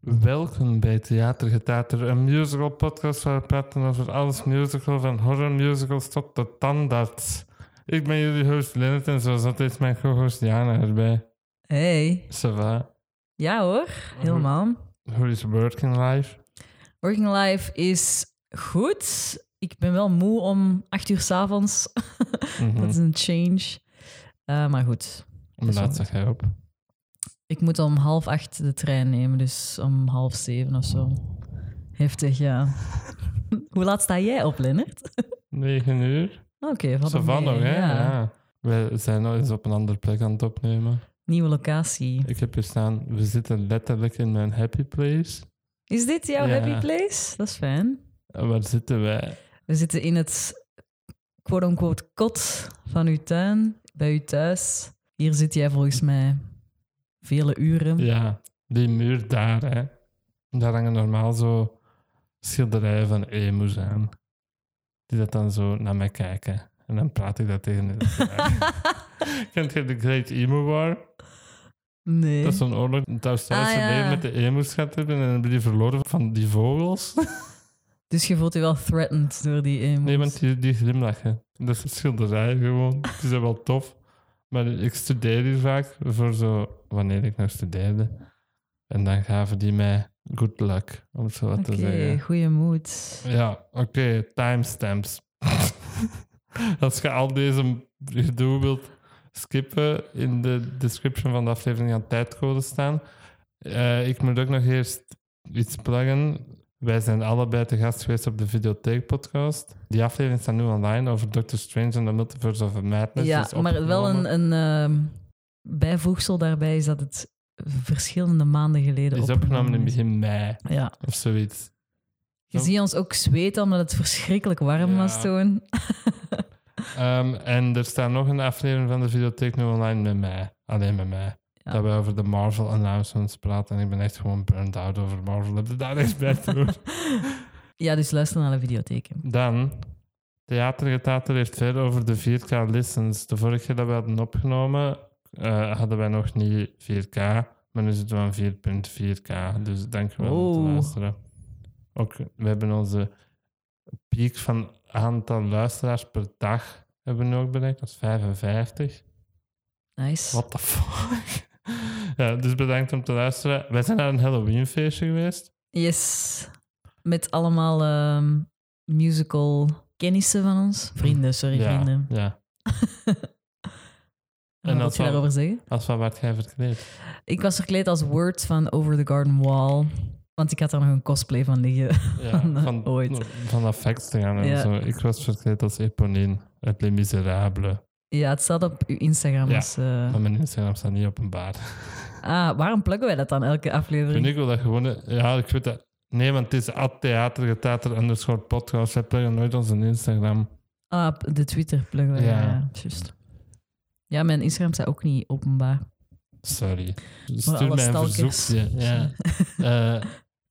Welkom bij Theatergetater, een musical podcast waar we praten over alles musical, van horror musicals tot de tandarts. Ik ben jullie host Lennart en zoals altijd mijn co-host Jana erbij. Hey. Ça va? Ja hoor, helemaal. Hoe is working life? Working life is goed. Ik ben wel moe om acht uur s'avonds. Mhm. Dat is een change. Eh, maar goed, Hoe laat zeg jij op? ik moet om half acht de trein nemen, dus om half zeven of zo. Heftig, ja. Hoe laat sta jij op, Lennart? 9 uur? Oké, wat Ça va nog, hè? Ja. Ja. We zijn nog eens op een andere plek aan het opnemen. Nieuwe locatie. Ik heb hier staan, we zitten letterlijk in mijn happy place. Is dit jouw Ja. happy place? Dat is fijn. En waar zitten wij? We zitten in het quote-unquote kot van uw tuin, bij u thuis. Hier zit jij volgens mij vele uren. Ja, die muur daar, hè. Daar hangen normaal zo schilderijen van emoes aan. Die dat dan zo naar mij kijken. En dan praat ik dat tegen de schilderij. Kent je de Great Emo War? nee. Dat is zo'n oorlog in het Australische Hm? Ah, ja. leven met de emoes gaat hebben. En dan hebben die verloren van die vogels. Dus je voelt je wel threatened door die emoties. Nee, want die, die glimlachen. Dat is een schilderij gewoon. Die zijn wel tof. Maar ik studeer hier vaak voor zo... Wanneer ik nog studeerde. En dan gaven die mij good luck, om het zo wat Oké, te zeggen. goede moed. Ja, oké, timestamps. Als je al deze gedoe wilt skippen, in de description van de aflevering gaan tijdcodes staan. Eh, ik moet ook nog eerst iets pluggen. Wij zijn allebei te gast geweest op de Videotheek podcast. Die aflevering staat nu online over Doctor Strange en de Multiverse of Madness. ja, is dus maar wel opgenomen. een, een ehm, bijvoegsel daarbij is dat het verschillende maanden geleden Die is opgenomen in begin mei Ja. of zoiets. Je Zo. ziet ons ook zweten omdat het verschrikkelijk warm Ja. was toen. Ehm, en er staat nog een aflevering van de videotheek nu online met mij. Alleen met mij. Ja. Dat we over de Marvel announcements praten. En ik ben echt gewoon burnt out over Marvel. Heb je daar niks bij te doen? Ja, dus luister naar de videotheek. Dan, Theatergetater heeft veel over de 4K listens. De vorige keer dat we hadden opgenomen, eh, hadden wij nog niet 4K. Maar nu zitten we aan 4.4K. Dus dankjewel wel om te Oh. luisteren. Ook, we hebben onze piek van aantal luisteraars per dag hebben we nu ook bereikt. Dat is 55. Nice. What the fuck? ja, dus bedankt om te luisteren. Wij zijn naar een Halloweenfeestje geweest. Yes. Met allemaal ehm, musical kennissen van ons. Vrienden, sorry, ja, vrienden. Ja. Wat En wil als je wel- daarover zeggen? Als wat werd jij verkleed? Ik was verkleed als Word van Over the Garden Wall. Want ik had daar nog een cosplay van liggen. Ja, van, Ooit. Van effects te gaan en Ja. zo. Ik was verkleed als Eponine uit Les Miserables. Ja, het staat op uw Instagram. Ja. dus, eh, Maar mijn Instagram staat niet openbaar. ah, waarom pluggen wij dat dan elke Vind aflevering? ik wel dat gewoon... Ja, ik weet dat... Nee, want het is at theater, getater, underscore podcast. Wij pluggen nooit onze Instagram. Ah, p- de Twitter pluggen wij. Ja. Ja, ja, juist. Ja, mijn Instagram staat ook niet openbaar. Sorry. alle Stuur mij een stalkers. verzoekje. Ja. Eh,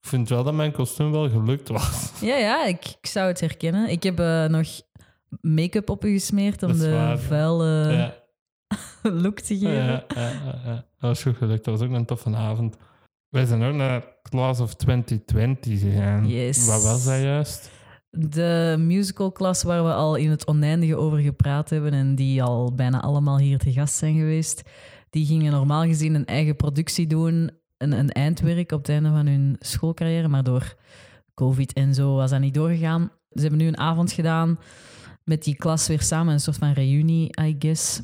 ik vind wel dat mijn kostuum wel gelukt was. Ja, ja, ik, ik zou het herkennen. Ik heb eh, nog make-up op u gesmeerd Dat om is de waar. vuile ja, look te ja, geven. ja, ja, ja. Dat was goed gelukt. Dat was ook een toffe avond. Wij zijn ook naar Class of 2020 gegaan. Yes. Wat was dat juist? De musicalklas waar we al in het oneindige over gepraat hebben en die al bijna allemaal hier te gast zijn geweest, die gingen normaal gezien een eigen productie doen, een, een eindwerk op het einde van hun schoolcarrière, maar door COVID en zo was dat niet doorgegaan. Ze hebben nu een avond gedaan met die klas weer samen, een soort van reunie, I guess.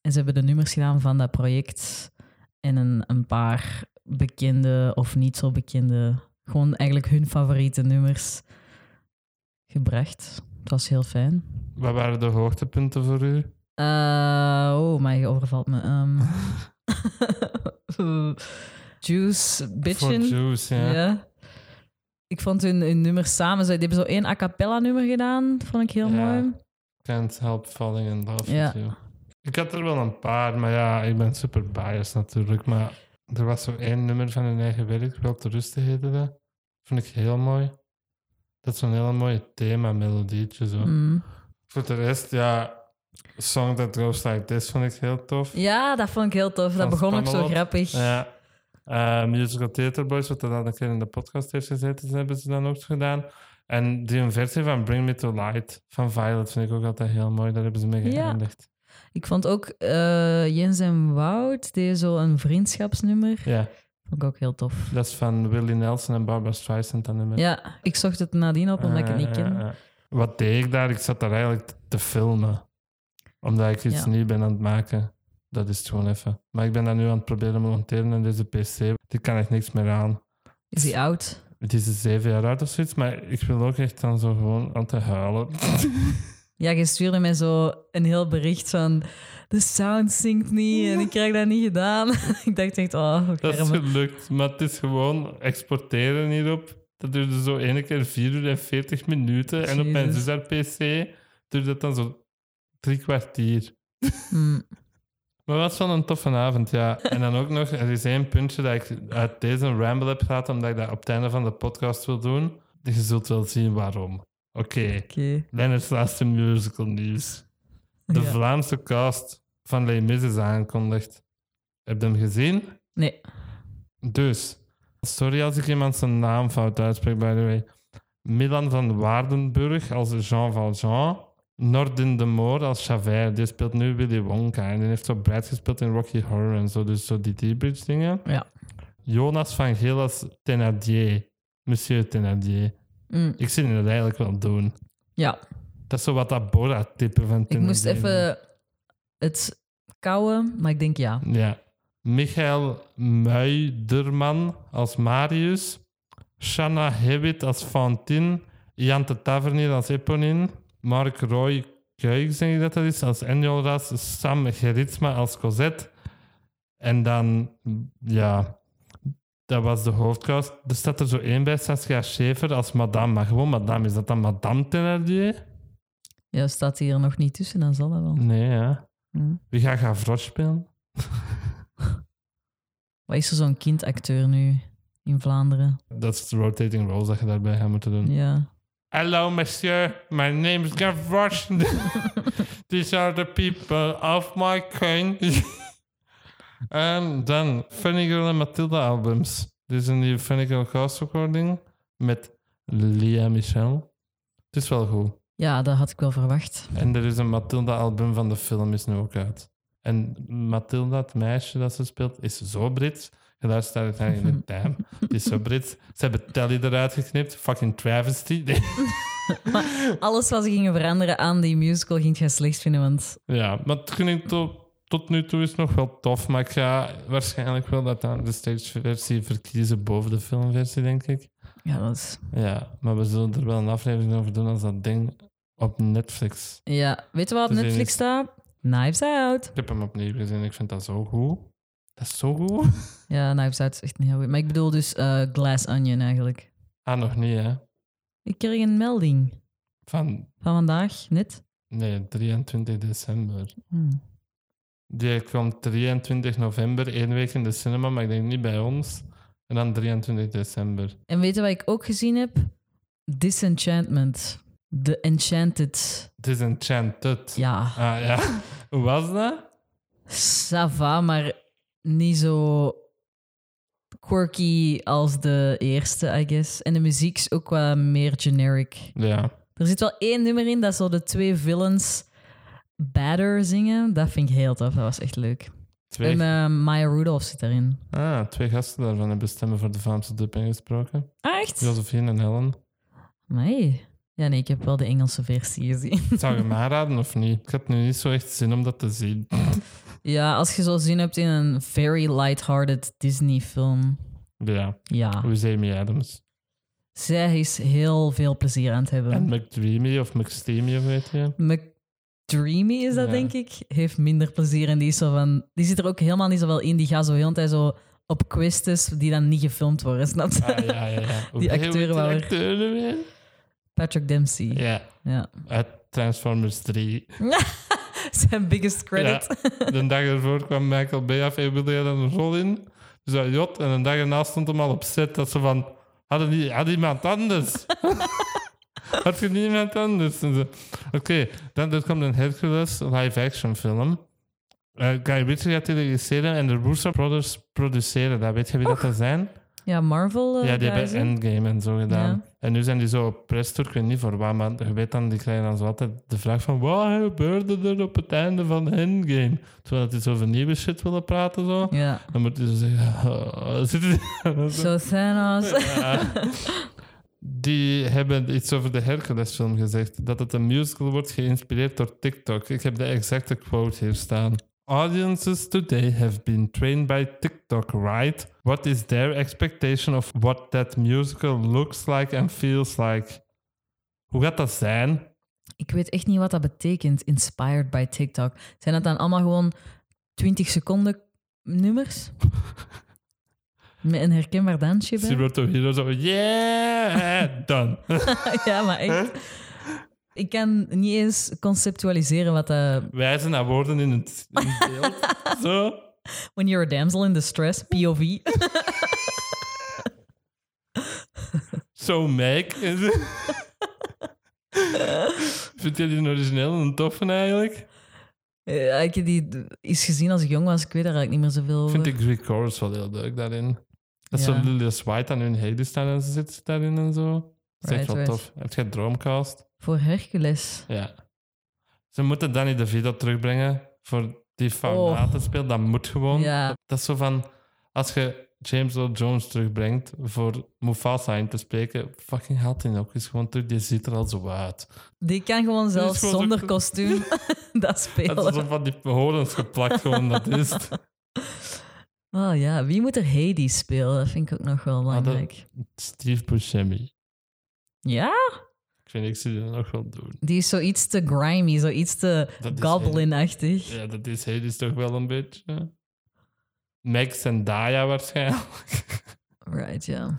En ze hebben de nummers gedaan van dat project en een, een paar bekende of niet zo bekende, gewoon eigenlijk hun favoriete nummers gebracht. Het was heel fijn. Wat waren de hoogtepunten voor u? Eh, oh, maar je overvalt me. Ehm, Juice, Voor Bitchin. Juice, ja. Ja. Ik vond hun, hun nummer samen. Ze die hebben zo één a cappella nummer gedaan. Vond ik heel Ja. mooi. Can't help falling in love Ja. with you. Ik had er wel een paar, maar ja, ik ben super biased natuurlijk. Maar er was zo één nummer van hun eigen werk, Wel te rusten heette dat. Vond ik heel mooi. Dat is zo'n hele mooie thema-melodietje zo. Mm. Voor de rest, ja, Song That Goes Like This vond ik heel tof. Ja, dat vond ik heel tof. Van Dat begon ook zo Spamalot. grappig. Ja. Eh, musical Theater Boys, wat er dan een keer in de podcast heeft gezeten, hebben ze dan ook gedaan. En die versie van Bring Me To Light van Violet vind ik ook altijd heel mooi. Daar hebben ze mee Ja. geëindigd. Ik vond ook eh, Jens en Wout, die zo een vriendschapsnummer. Ja. Vond ik ook heel tof. dat is van Willie Nelson en Barbara Streisand. Dan nummer. Ja, ik zocht het nadien op omdat ik het niet Eh, eh, ken. eh. Wat deed ik daar? Ik zat daar eigenlijk te- te filmen. Omdat ik iets Ja. nieuw ben aan het maken. Dat is het gewoon even. Maar ik ben daar nu aan het proberen monteren en deze PC. Die kan echt niks meer aan. Is hij oud? Het is een zeven jaar oud of zoiets, maar ik wil ook echt dan zo gewoon aan te huilen. Ja, je stuurde mij zo een heel bericht van... De sound zingt niet en ik krijg dat niet gedaan. ik dacht echt, oh, Dat is kermen. gelukt, maar het is gewoon exporteren hierop. Dat duurde zo ene keer 4 uur en 40 minuten. En op mijn Jezus. zus haar PC duurde dat dan zo drie kwartier. Hm. Maar wat van een toffe avond, ja. En dan ook nog, er is één puntje dat ik uit deze ramble heb gehad, omdat ik dat op het einde van de podcast wil doen. Je zult wel zien waarom. Oké, Oké. Lennart's laatste musical nieuws. De Ja. Vlaamse cast van Les Mis is aangekondigd. Heb je hem gezien? Nee. Dus, sorry als ik iemand zijn naam fout uitspreek, by the way. Milan van Waardenburg als Jean Valjean. Nordin de Moor als Javert. Die speelt nu Willy Wonka. En die heeft zo Brad gespeeld in Rocky Horror en zo. Dus zo die D-Bridge dingen. Ja. Jonas van Geel als Thénardier. Monsieur Thénardier. Hm. Ik zie het eigenlijk wel doen. Ja, Dat is zo wat dat Borat-type van ik Thénardier. moest even het kouwen, maar ik denk ja. Ja. Michael Muiderman als Marius. Shanna Hewitt als Fantine. Jante Tavernier als Eponine. Mark Roy Kuijks, denk ik dat dat is, als Enjolras. Sam Geritsma als Cosette. En dan, ja, dat was de hoofdkast. Er staat er zo één bij, Saskia Schäfer als madame. Maar gewoon madame, is dat dan madame Thénardier? Ja, staat hij er nog niet tussen, dan zal dat wel. Nee, ja. Hm. Wie gaat Gavroche spelen? Wat is er zo'n kindacteur nu in Vlaanderen? Dat is de rotating roles dat je daarbij gaat moeten doen. Ja. Hello, monsieur. My name is Gavroche. These are the people of my kind. En dan Funny Girl en Matilda albums. Dit is een nieuwe Funny Girl cast recording met Lia Michel. Het is wel goed. ja, dat had ik wel verwacht. En er is een Matilda album van de film is nu ook uit. En Matilda, het meisje dat ze speelt, is zo Brits. En daar staat het eigenlijk in de time. Het is zo Brits. Ze hebben Telly eruit geknipt. Fucking travesty. Nee. Hm. Alles wat ze gingen veranderen aan die musical ging jij slecht vinden, want Ja, maar het klinkt tot, tot nu toe is het nog wel tof. Maar ik ga waarschijnlijk wel dat aan de stageversie verkiezen boven de filmversie, denk ik. ja, dat is... Ja, maar we zullen er wel een aflevering over doen als dat ding op Netflix. Ja, weet je wat op Dus Netflix is- staat? Knives Out. Ik heb hem opnieuw gezien. Ik vind dat zo goed. Dat is zo goed. Ja, Knives Out is echt een heel goed. Maar ik bedoel dus eh, Glass Onion eigenlijk. Ah, nog niet, hè? Ik kreeg een melding Van van vandaag, net. nee, 23 december. Hm. Die komt 23 november, één week in de cinema, maar ik denk niet bij ons. En dan 23 december. En weet je wat ik ook gezien heb? Disenchantment. The Enchanted. Disenchanted. Ja, Ah ja. Hoe was dat? Sava, maar niet zo quirky als de eerste, I guess. En de muziek is ook wat meer generic. Ja. Er zit wel één nummer in dat zo de twee villains Badder zingen. Dat vind ik heel tof, dat was echt leuk. Twee, En eh, Maya Rudolph zit daarin. ah, twee gasten daarvan hebben stemmen voor de Vlaamse dub ingesproken. Ah, echt? Josephine en Helen. Nee. Ja, nee, ik heb wel de Engelse versie gezien. Zou je hem aanraden of niet? Ik had nu niet zo echt zin om dat te zien. Ja, als je zo zin hebt in een very light-hearted Disney-film. Ja, Ja, hoe zei Amy Adams? zij is heel veel plezier aan het En hebben. McDreamy of McSteamy, of weet je? McDreamy is dat, Ja. denk ik. Heeft minder plezier en die is zo van... Die zit er ook helemaal niet zo wel in. Die gaat zo heel de tijd zo op quests die dan niet gefilmd worden, snap je? Ah, ja, ja, ja. Hoe Die heet acteur die waar- acteur nu weer? Patrick Dempsey. Ja, Ja. uit Transformers 3. Zijn biggest credit. De dag ervoor kwam Michael Bay af en wilde hij dan een rol in. Dus dat jot. En een dag erna stond hem al op set dat ze van... Hadden die, had iemand anders? had je niemand anders? En ze- Oké, dan er komt een Hercules live-action film. eh Guy Ritchie gaat die regisseren en de Russo Brothers produceren. Dat weet je wie dat er zijn? Ja, Marvel. eh, ja, die guys, hebben hè? Endgame en zo gedaan. Ja. En nu zijn die zo op presstour, ik weet niet voor waar, maar je weet dan, die krijgen dan zo altijd de vraag van wat gebeurde er op het einde van Endgame? Terwijl dat die zo over nieuwe shit willen praten, zo. Ja. Dan moet je zo zeggen, "Oh, zit het in?" So Thanos. Ja. Die hebben iets over de Hercules-film gezegd. Dat het een musical wordt geïnspireerd door TikTok. Ik heb de exacte quote hier staan. Audiences today have been trained by TikTok, right? What is their expectation of what that musical looks like and feels like? Hoe gaat dat zijn? Ik weet echt niet wat dat betekent, inspired by TikTok. Zijn dat dan allemaal gewoon 20 seconden nummers? Met een herkenbaar dansje bij? Roberto Hero zo, yeah, done. ja, maar echt. Ik kan niet eens conceptualiseren wat dat... Wijzen naar woorden in het in het beeld. zo. When you're a damsel in distress, POV. Zo Mac. Vind jij die een origineel en een toffe eigenlijk? Eh, ik heb die eens gezien als ik jong was. Ik weet daar eigenlijk niet meer zoveel over. Vind ik Greek Chorus wel heel leuk daarin. Dat is Ja. zo Lilius White aan hun heden staan en ze zit daarin en zo. Dat is echt Right, wel right. tof. Heb je Droomcast? Voor Hercules. Ja. Ze moeten Danny DeVito terugbrengen voor die Faunaten speelt. Dat moet gewoon. Oh. Ja. Dat is zo van... Als je James Earl Jones terugbrengt voor Mufasa in te spreken, fucking haalt hij ook eens gewoon terug. Die ziet er al zo uit. Die kan gewoon zelfs gewoon zo- zonder kostuum dat Het is spelen. alsof van die horens geplakt gewoon, dat is het. Oh ja, wie moet er Hades spelen? Dat vind ik ook nog wel Ah, dat- belangrijk. Steve Buscemi. Ja, Ik vind, ik zie dat nog wel doen. die is zoiets te grimy, zoiets te Dat is goblin-achtig. Ja, dat is Hades toch wel een beetje. Max en Daya waarschijnlijk. Right, ja.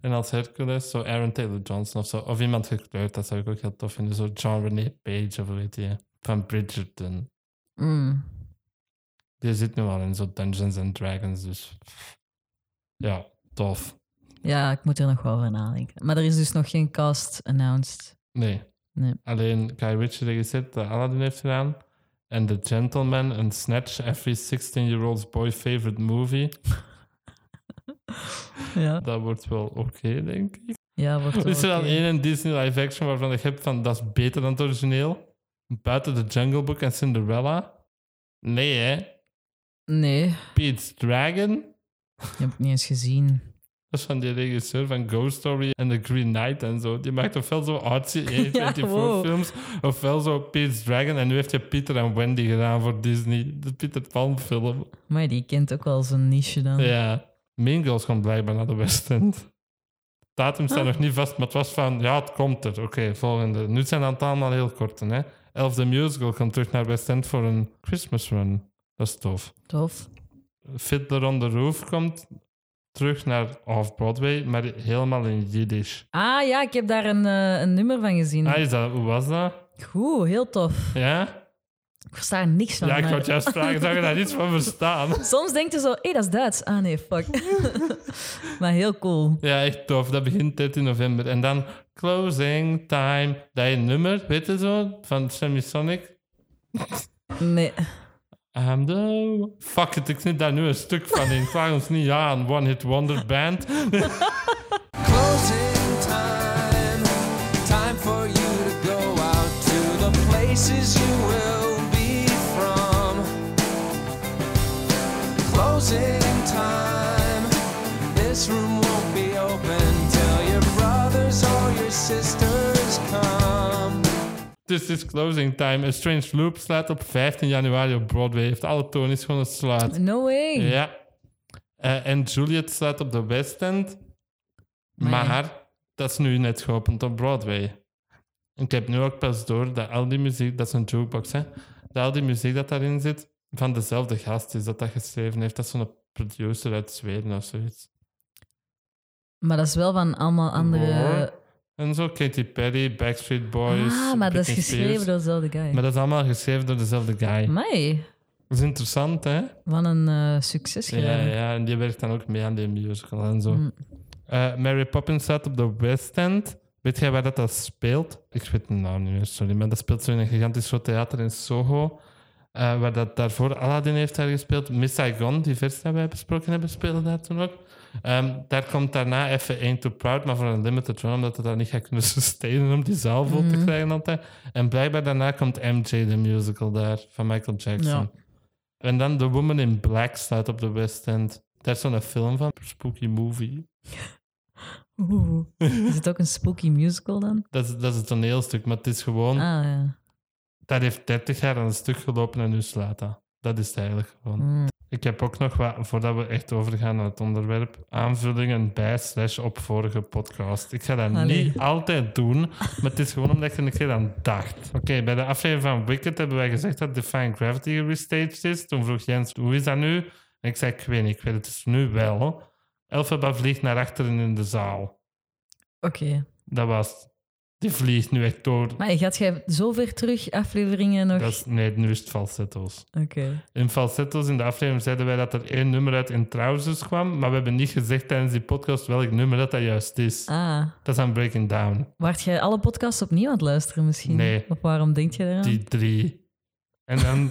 en als Hercules, zo Aaron Taylor Johnson of zo. Of iemand gekleurd, dat zou ik ook heel tof vinden. Zo John René Page of weet je. Van Bridgerton. Mm. Die zit nu al in zo Dungeons and Dragons, dus... Ja, tof. Ja, ik moet er nog wel over nadenken. Maar er is dus nog geen cast announced. Nee. Nee. Alleen Guy Ritchie regisseert dat Aladdin heeft gedaan. En The Gentleman en Snatch, every 16-year-old boy favorite movie. Ja, Dat wordt wel oké, denk ik. ja wordt wel Is er dan oké. één in Disney live action waarvan ik heb van dat is beter dan het origineel? Buiten The Jungle Book en Cinderella? Nee, hè? Nee, Pete's Dragon? ik heb het niet eens gezien. Dat is van die regisseur van Ghost Story en The Green Knight en zo. Die maakt ofwel zo artsy A24 wow. films, ofwel zo Pete's Dragon. En nu heeft hij Peter en Wendy gedaan voor Disney. De Peter Pan film. Maar die kent ook wel zijn niche dan. Ja. Mean Girls komt blijkbaar naar de West End. Datum staat nog niet vast, maar het was van... Ja, het komt er. Oké, volgende. Nu zijn het allemaal heel korte, hè. Elf the Musical komt terug naar West End voor een Christmas run. Dat is tof. Tof. Fiddler on the Roof komt terug naar Off-Broadway, maar helemaal in Jiddisch. Ah ja, ik heb daar een, eh, een nummer van gezien. Ah, is dat, hoe was dat? Goed, heel tof. Ja? Ik versta er niks van. Ja, ik maar- wou het juist vragen. Zou je daar iets van verstaan? Soms denk je zo, hé, hey, dat is Duits. Ah nee, fuck. maar heel cool. Ja, echt tof. Dat begint 13 november. En dan Closing Time. Dat je nummer, weet je zo, van Semisonic. Nee. I'm the... Fuck it, ik zit daar nu een stuk van in. Klaag ons niet aan, One Hit Wonder Band. Closing time. Time for you to go out to the places you will be from. Closing time. This room won't be open till your brothers or your sisters come. Dus het is Closing Time. A Strange Loop slaat op 15 januari op Broadway. Heeft alle tonies gewoon een slaat. No way. Ja. Eh, en Juliet slaat op de West End. Maar dat is nu net geopend op Broadway. Ik heb nu ook pas door dat al die muziek, dat is een jukebox, hè, dat al die muziek dat daarin zit, van dezelfde gast is dat dat geschreven heeft. Dat is zo'n producer uit Zweden of zoiets. Maar dat is wel van allemaal andere... Hoor. En zo Katy Perry, Backstreet Boys. ah, maar dat is Britney geschreven Spears. door dezelfde guy. Maar dat is allemaal geschreven door dezelfde guy. Mij, Dat is interessant, hè? wat een eh, succes Ja, gedaan. ja, en die werkt dan ook mee aan die musical en zo. Mm. Eh, Mary Poppins staat op de West End. Weet jij waar dat, dat speelt? Ik weet de naam niet meer, sorry. Maar dat speelt zo in een gigantisch groot theater in Soho. eh, waar dat daarvoor Aladdin heeft daar gespeeld. Miss Saigon, die vers dat wij besproken hebben, speelde daar toen ook. Ehm, daar komt daarna even één to Proud, maar voor een limited run, omdat het dat niet gaat kunnen sustainen om die zaal vol Mhm. te krijgen altijd. En blijkbaar daarna komt MJ, de musical daar, van Michael Jackson. Ja. En dan The Woman in Black staat op de West End. Daar is zo'n film van, spooky movie. Oeh. Is het ook een spooky musical dan? Dat is, dat is een toneelstuk, maar het is gewoon... Ah ja. Dat heeft 30 jaar aan een stuk gelopen en nu slaat dat. Dat is het eigenlijk gewoon. Mm. Ik heb ook nog wat, voordat we echt overgaan naar het onderwerp, aanvullingen bij slash op vorige podcast. Ik ga dat Allee. niet altijd doen, maar het is gewoon omdat ik er een keer aan dacht. Oké, bij de aflevering van Wicked hebben wij gezegd dat Define Gravity restaged is. Toen vroeg Jens, hoe is dat nu? En ik zei, ik weet niet, ik weet het dus nu wel. Elphaba vliegt naar achteren in de zaal. Oké. Dat was... Die vliegt nu echt door. Maar gaat jij zo ver terug afleveringen nog? Dat is, nee, nu is het falsetto's. Oké. In falsetto's in de aflevering zeiden wij dat er één nummer uit in Trousers kwam, maar we hebben niet gezegd tijdens die podcast welk nummer dat, dat juist is. Ah. Dat is aan Breaking Down, Waart jij alle podcasts opnieuw aan het luisteren misschien? Nee. Of waarom denk je daaraan? die drie. En dan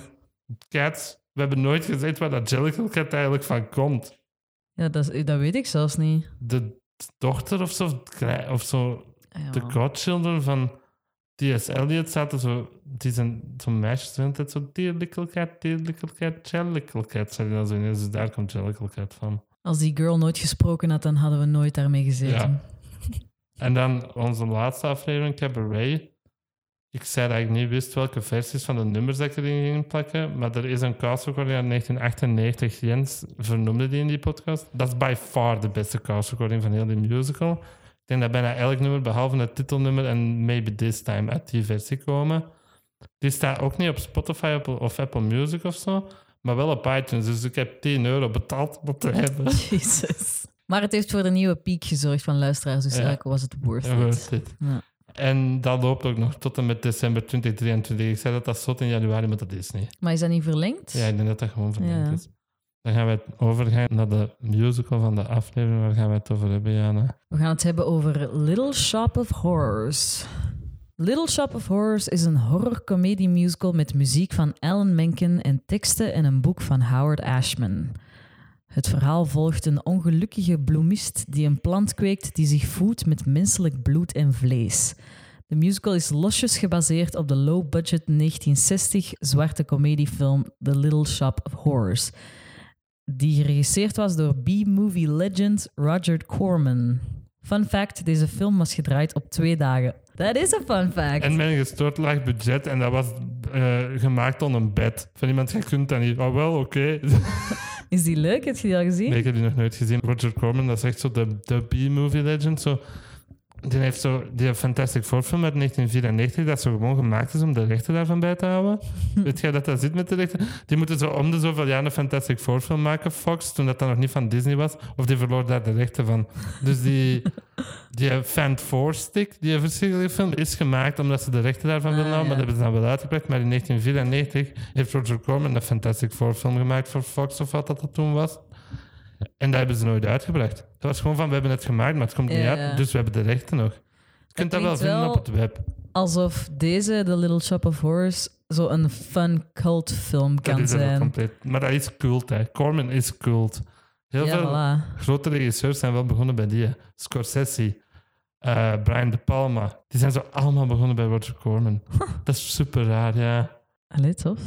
Cats, we hebben nooit gezegd waar dat Jellicle Cat eigenlijk van komt. Ja, dat, is- dat weet ik zelfs niet. De dochter of zo, of klei- of zo Ah, ja. de godchildren van T.S. Eliot zaten zo, die zijn zo'n meisjes de hele tijd zo, dear little cat, dear little cat, Jellicle Cat, zei die dan zo ineens, dus daar komt Jellicle Cat van. Als die girl nooit gesproken had, dan hadden we nooit daarmee gezeten. Ja. En dan onze laatste aflevering, Cabaret. Ik zei dat ik niet wist welke versies van de nummers dat ik erin ging plakken, maar er is een cast recording uit 1998. Jens vernoemde die in die podcast. Dat is by far de beste cast recording van heel die musical. Ik denk dat bijna elk nummer, behalve het titelnummer en Maybe This Time, uit die versie komen. Die staat ook niet op Spotify op- of Apple Music of zo, maar wel op iTunes. Dus ik heb 10 euro betaald om dat te hebben. Jezus. Maar het heeft voor de nieuwe piek gezorgd van luisteraars, dus Ja. eigenlijk was het worth Ja, it. worth it. Ja. En dat loopt ook nog tot en met december 2023. Ik zei dat dat slot in januari, maar dat is niet. Maar is dat niet verlengd? Ja, ik denk dat dat gewoon verlengd Ja. is. Dan gaan we overgaan naar de musical van de aflevering. Waar gaan we het over hebben, Jana? We gaan het hebben over Little Shop of Horrors. Little Shop of Horrors is een horrorcomedy musical met muziek van Alan Menken en teksten en een boek van Howard Ashman. Het verhaal volgt een ongelukkige bloemist die een plant kweekt die zich voedt met menselijk bloed en vlees. De musical is losjes gebaseerd op de low-budget 1960 zwarte comediefilm The Little Shop of Horrors, die geregisseerd was door B-movie legend Roger Corman. Fun fact, deze film was gedraaid op twee dagen. Dat is een fun fact. En mijn gestoord laag budget. En dat was eh, gemaakt onder een bed. Van iemand, jij kunt dat niet. Oh, wel, oké. Is die leuk? Heb je die al gezien? Nee, ik heb die nog nooit gezien. Roger Corman, dat is echt zo de, de B-movie legend. Zo, die heeft zo die Fantastic Four film uit 1994, dat zo gewoon gemaakt is om de rechten daarvan bij te houden. Weet jij dat dat zit met de rechten? Die moeten zo om de zoveel jaar een Fantastic Four film maken, Fox, toen dat dan nog niet van Disney was. Of die verloor daar de rechten van. Dus die, die eh, Fan Four stick, die verschrikkelijke film, is gemaakt omdat ze de rechten daarvan wilden Ah, houden. Maar ja. dat hebben ze dan wel uitgebracht. Maar in 1994 heeft Roger Corman een Fantastic Four film gemaakt voor Fox of wat dat, dat toen was. En dat hebben ze nooit uitgebracht. Dat was gewoon van, we hebben het gemaakt, maar het komt niet Ja. uit, dus we hebben de rechten nog. Je kunt dat, wel klinkt vinden wel- op het web. Alsof deze, The Little Shop of Horrors, zo'n fun cult film Dat kan is er wel zijn. compleet. Maar dat is cult, hè. Corman is cult. Heel Ja, veel voilà. grote regisseurs zijn wel begonnen bij die. hè. Scorsese, eh, Brian De Palma. Die zijn zo allemaal begonnen bij Roger Corman. dat is super raar, ja. Allee, tof.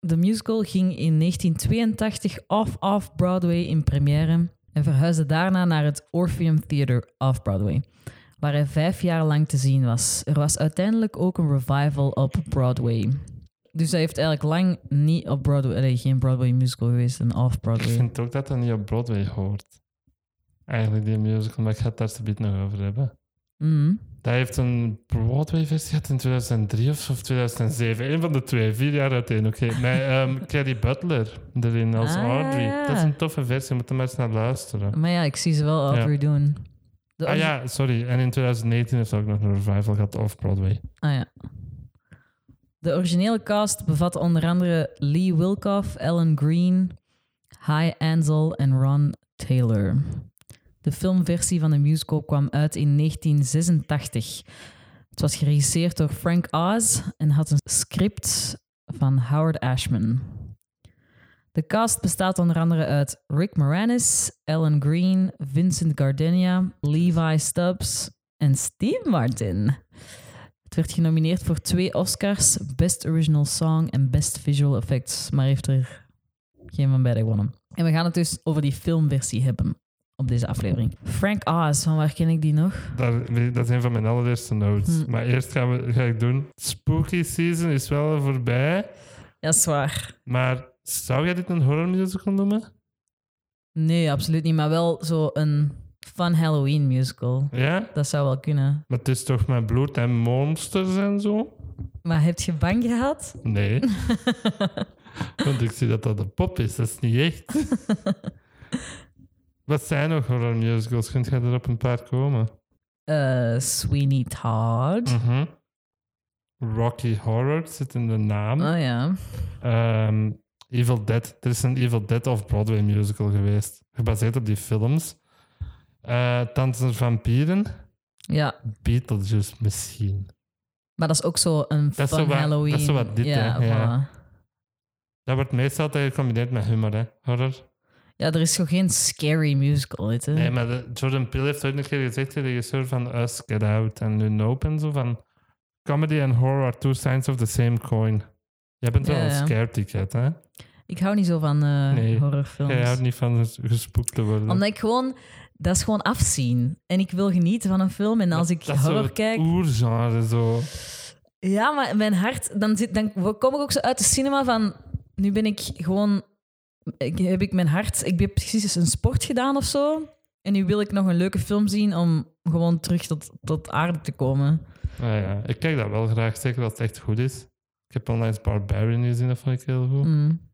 De musical ging in 1982 off-off Broadway in première en verhuisde daarna naar het Orpheum Theater off-Broadway, waar hij vijf jaar lang te zien was. Er was uiteindelijk ook een revival op Broadway. Dus hij heeft eigenlijk lang niet op Broadway, allee, geen Broadway musical geweest, een Ik off-Broadway. vind ook dat dat niet op Broadway hoort. Eigenlijk, die musical, maar ik ga het daar zo nog over hebben. Mhm. Dat heeft een Broadway-versie gehad in 2003 of zo, of 2007. Een van de twee, vier jaar uiteen. Oké, met ehm Carrie Butler erin als Ah, Audrey. ja. Dat is een toffe versie, moet er maar eens naar luisteren. Maar ja, ik zie ze wel Audrey doen. De Ah ja, sorry. En in 2019 heeft ze ook nog een revival gehad off-Broadway. Ah ja. De originele cast bevatte onder andere Lee Wilkoff, Ellen Green, Hi Ansel en Ron Taylor. De filmversie van de musical kwam uit in 1986. Het was geregisseerd door Frank Oz en had een script van Howard Ashman. De cast bestaat onder andere uit Rick Moranis, Alan Green, Vincent Gardenia, Levi Stubbs en Steve Martin. Het werd genomineerd voor twee Oscars, Best Original Song en Best Visual Effects, maar heeft er geen van beide gewonnen. En we gaan het dus over die filmversie hebben op deze aflevering. Frank Oz, van waar ken ik die nog? Dat, dat is een van mijn allereerste notes. Hm. Maar eerst gaan we, ga ik doen. Spooky season is wel voorbij. Ja, zwaar. Maar zou jij dit een horror musical noemen? Nee, absoluut niet, maar wel zo'n fun Halloween musical. Ja? Dat zou wel kunnen. Maar het is toch met bloed en monsters en zo? Maar heb je bang gehad? Nee. Want ik zie dat dat een pop is. Dat is niet echt. Wat zijn nog horror musicals? Kunt jij er op een paar komen? Eh, Sweeney Todd. Mhm. Rocky Horror zit in de naam. Oh ja. Ehm, Evil Dead. Er is een Evil Dead of Broadway musical geweest. Gebaseerd op die films. Eh Dansen Vampieren. Ja, Beetlejuice misschien. maar dat is ook zo'n Dat is fun zo wat- Halloween. dat is zo wat dit, ja, hè, ja. voilà. Dat wordt meestal altijd gecombineerd met humor, hè? Horror. ja, er is gewoon geen scary musical, weet je. Nee, Eh, maar de- Jordan Peele heeft ooit een keer gezegd, de regisseur van Us, Get Out en nu Nope en zo, van comedy en horror are two sides of the same coin. Jij bent wel Ja, een ja. scared ticket, hè? Ik hou niet zo van eh, Nee. horrorfilms. Jij houdt niet van ges- gespookt te worden. Omdat ik gewoon... Dat is gewoon afzien. En ik wil genieten van een film. En als ik dat horror is zo kijk... het oergenre, zo. Ja, maar mijn hart... Dan, zit, dan kom ik ook zo uit de cinema van... Nu ben ik gewoon... Ik, heb ik mijn hart... Ik heb precies eens een sport gedaan of zo. En nu wil ik nog een leuke film zien om gewoon terug tot, tot aarde te komen. Nou ja, ik kijk dat wel graag, zeker als het echt goed is. Ik heb onlangs Barbarian gezien, dat vond ik heel goed. Mm.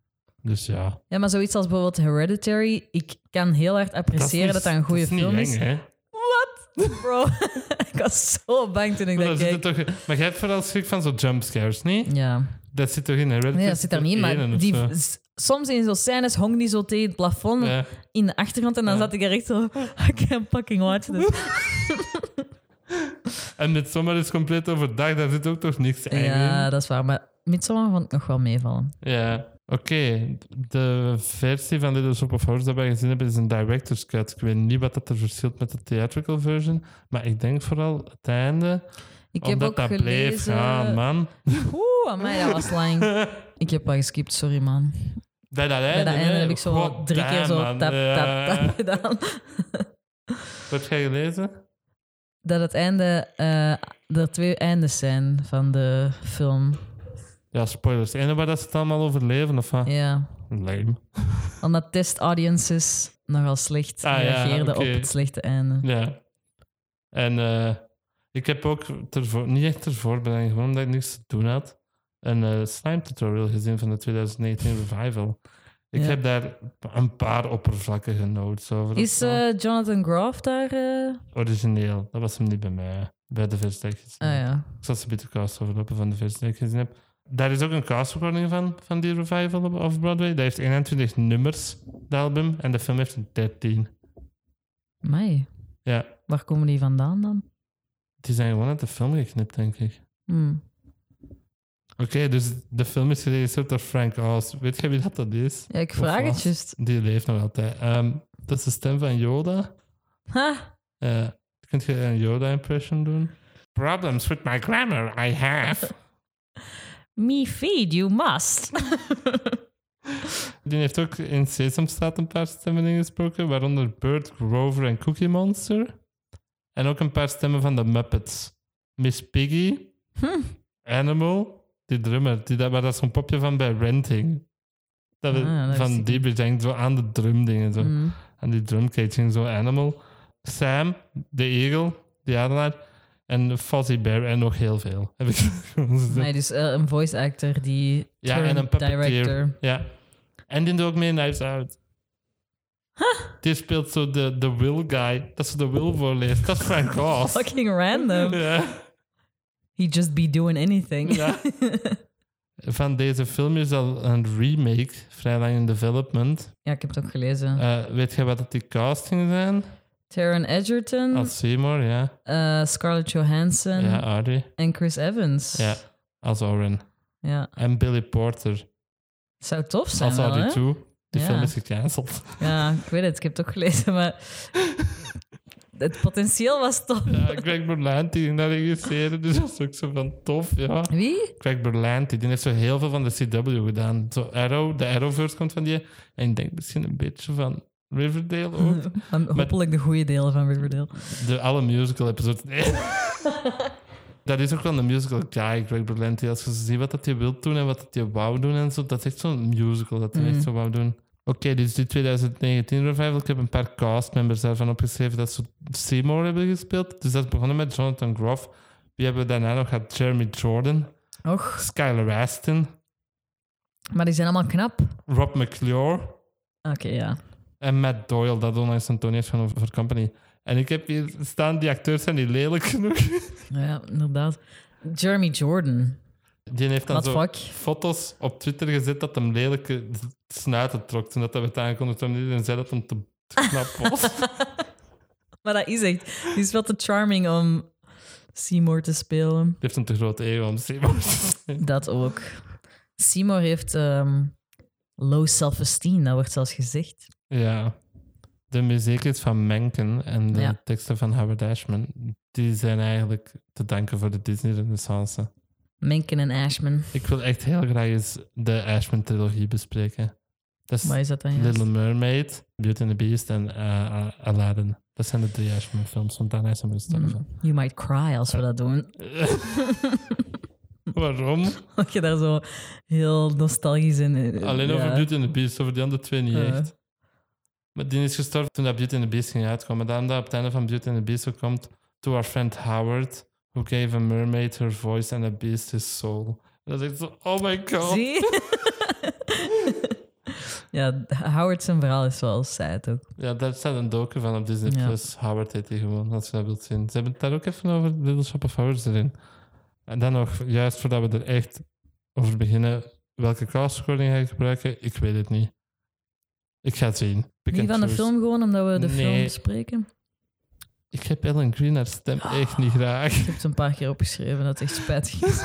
Dus ja. Ja, maar zoiets als bijvoorbeeld Hereditary. Ik kan heel hard appreciëren dat dat, niet- een goede dat is film niet is. eng, hè? Wat? Bro, ik was zo bang toen ik Maar, dat daar keek. zitten toch, maar jij hebt vooral schrik van zo'n jumpscares, niet? Ja, Dat zit toch in Hereditary? Mm. nee, dat zit daar niet in. één Maar of die, zo. s- soms in zo'n scènes hong die zo tegen het plafond eh, Ja. in de achtergrond. En dan Ja. zat ik er echt zo... I can't fucking watch this. En dit zomer is compleet overdag, daar zit ook toch niks ja, in. dat is waar. Maar Midsommar vond ik nog wel meevallen. Ja. Oké, de versie van Little Shop of Horrors dat wij gezien hebben is een director's cut. Ik weet niet wat dat er verschilt met de theatrical version, maar ik denk vooral het einde, Ik heb omdat ook dat gelezen... bleef gaan, man. Oeh, amai, dat was lang. Ik heb al geskipt, sorry man. Bij dat einde, Bij dat einde hè. heb ik zo God drie damn, keer zo man. tap, tap, Ja. tap gedaan. Wat jij gelezen? dat het einde, eh, er twee eindes zijn van de film. Ja, spoilers. En waar dat ze het allemaal overleven, of wat? Ja. Lame. Omdat test audiences nogal slecht Ah, ja, reageerden oké. op het slechte einde. Ja. En eh, ik heb ook ter voor- niet echt ter voorbereiding, gewoon omdat ik niks te doen had, een eh, slime tutorial gezien van de 2019 revival. Ik Ja. heb daar een paar oppervlakkige notes over. of Is zo. eh, Jonathan Groff daar? eh? Origineel. Dat was hem niet bij mij, bij de versie die ik gezien Ah heb. ja. Ik zal ze een beetje cast overlopen van de versie die ik gezien heb. Daar is ook een cast recording van, van die revival op of Broadway. Dat heeft 21 nummers, dat album, en de film heeft een 13. Mij. Ja, Waar komen die vandaan dan? die zijn gewoon uit de film geknipt, denk ik. Hmm. Oké, dus de film is geregisseerd door Frank Oz. Weet jij wie dat, dat is? Ja, ik Of vraag het was. juist. Die leeft nog altijd. Ehm, dat is de stem van Yoda. Ha! Eh kunt je een Yoda-impression doen? Problems with my grammar I have. Me feed, you must. Die heeft ook in Sesamstraat een paar stemmen ingesproken, waaronder Bert Grover en Cookie Monster. En ook een paar stemmen van de Muppets. Miss Piggy, Hm. Animal, die drummer, die, dat- waar dat zo'n popje van bij Renting. Dat we- Ah, dat wist van ik die bedenkt, zo aan de drumdingen. Zo. Hmm. En die drumcaging, zo Animal. Sam, de Eagle, die adelaar. En Fuzzy Bear en nog heel veel. Heb ik gewoon gezegd. Nee, dus eh, een voice actor die. Ja, turned en een puppeteer. director. Ja. En die doet ook mee in Knives Out. Die speelt zo de, de Will guy. Dat ze de Will voorleest. Dat is Frank Oz. Fucking random. Ja. He just be doing anything. Ja. Van deze film is al een remake, vrij lang in development. Ja, ik heb het ook gelezen. Eh, weet jij wat dat die castingen zijn? Taron Egerton, Als Seymour, ja. eh, Scarlett Johansson Ja, Audrey. en Chris Evans. Ja, als Oren. Ja. En Billy Porter. Het zou tof zijn. Als wel, Audi hè? 2. Die Ja. film is gecanceld. Ja, ik weet het. Ik heb het ook gelezen, maar het potentieel was tof. Ja, Greg Berlanti die dat regisseerde, dus dat is ook zo van tof, ja. Wie? Greg Berlanti, die heeft zo heel veel van de CW gedaan. Zo Arrow, de Arrowverse komt van die. En ik denk misschien een beetje van Riverdale Hm. ook. Van- Hopelijk de goede delen van Riverdale. De alle musical episodes. Nee. dat is ook wel een musical guy, Greg Berlanti. Als je ziet wat dat hij wil doen en wat dat hij wou doen en zo, dat is echt zo'n musical dat hij echt zo wou doen. Oké, dus die 2019 revival, ik heb een paar castmembers daarvan opgeschreven dat ze Seymour hebben gespeeld. Dus dat is begonnen met Jonathan Groff. Wie hebben we daarna nog gehad? Jeremy Jordan, Och, Skylar Aston, maar die zijn allemaal knap. Oké, Rob McClure ja. en Matt Doyle, dat onlangs een toon heeft van voor Company. En ik heb hier staan, die acteurs zijn niet lelijk genoeg. Ja, inderdaad. Jeremy Jordan. Die heeft dan What zo fuck? foto's op Twitter gezet dat hem lelijke snuiten trok. Toen dat hij werd aangekondigd en iedereen zei dat hem te te knap was. Maar dat is echt... Die is wel te charming om Seymour te spelen. Die heeft een te grote ego om Seymour te zijn. Dat ook. Seymour heeft ehm, low self-esteem, dat wordt zelfs gezegd. Ja. De muziek is van Menken en de Ja. teksten van Howard Ashman. Die zijn eigenlijk te danken voor de Disney-renaissance. Menken en Ashman. Ik wil echt heel graag eens de Ashman-trilogie bespreken. Dat is Waar is dat dan juist? Little Mermaid, Beauty and the Beast en eh, Aladdin. Dat zijn de drie Ashman-films, want daarna is hem gestorven. Hmm, You might cry als we dat doen. Waarom? Dat je daar zo heel nostalgisch in... eh, Alleen ja. over Beauty and the Beast, over die andere twee niet Ja. echt. Maar die is gestorven toen dat Beauty and the Beast ging uitkomen. Daarom dat op het einde van Beauty and the Beast ook komt... To our friend Howard, who gave a mermaid her voice and a beast his soul. En dan is ik zo, oh my god. Zie? ja, Howard zijn verhaal is wel sad ook. Ja, daar staat een docu van op Disney+. Ja. Plus. Howard heet die gewoon, als je dat wilt zien. Ze hebben het daar ook even over Little Shop of Horrors erin. En dan nog, juist voordat we er echt over beginnen... Welke castscoring ga ik gebruiken? Ik weet het niet. Ik ga het zien. Pick Niet and van de choose. film gewoon, omdat we de film Nee. bespreken. Ik heb Ellen Green haar stem Ah. echt niet graag. Ik heb het een paar keer opgeschreven, dat het echt spijtig is.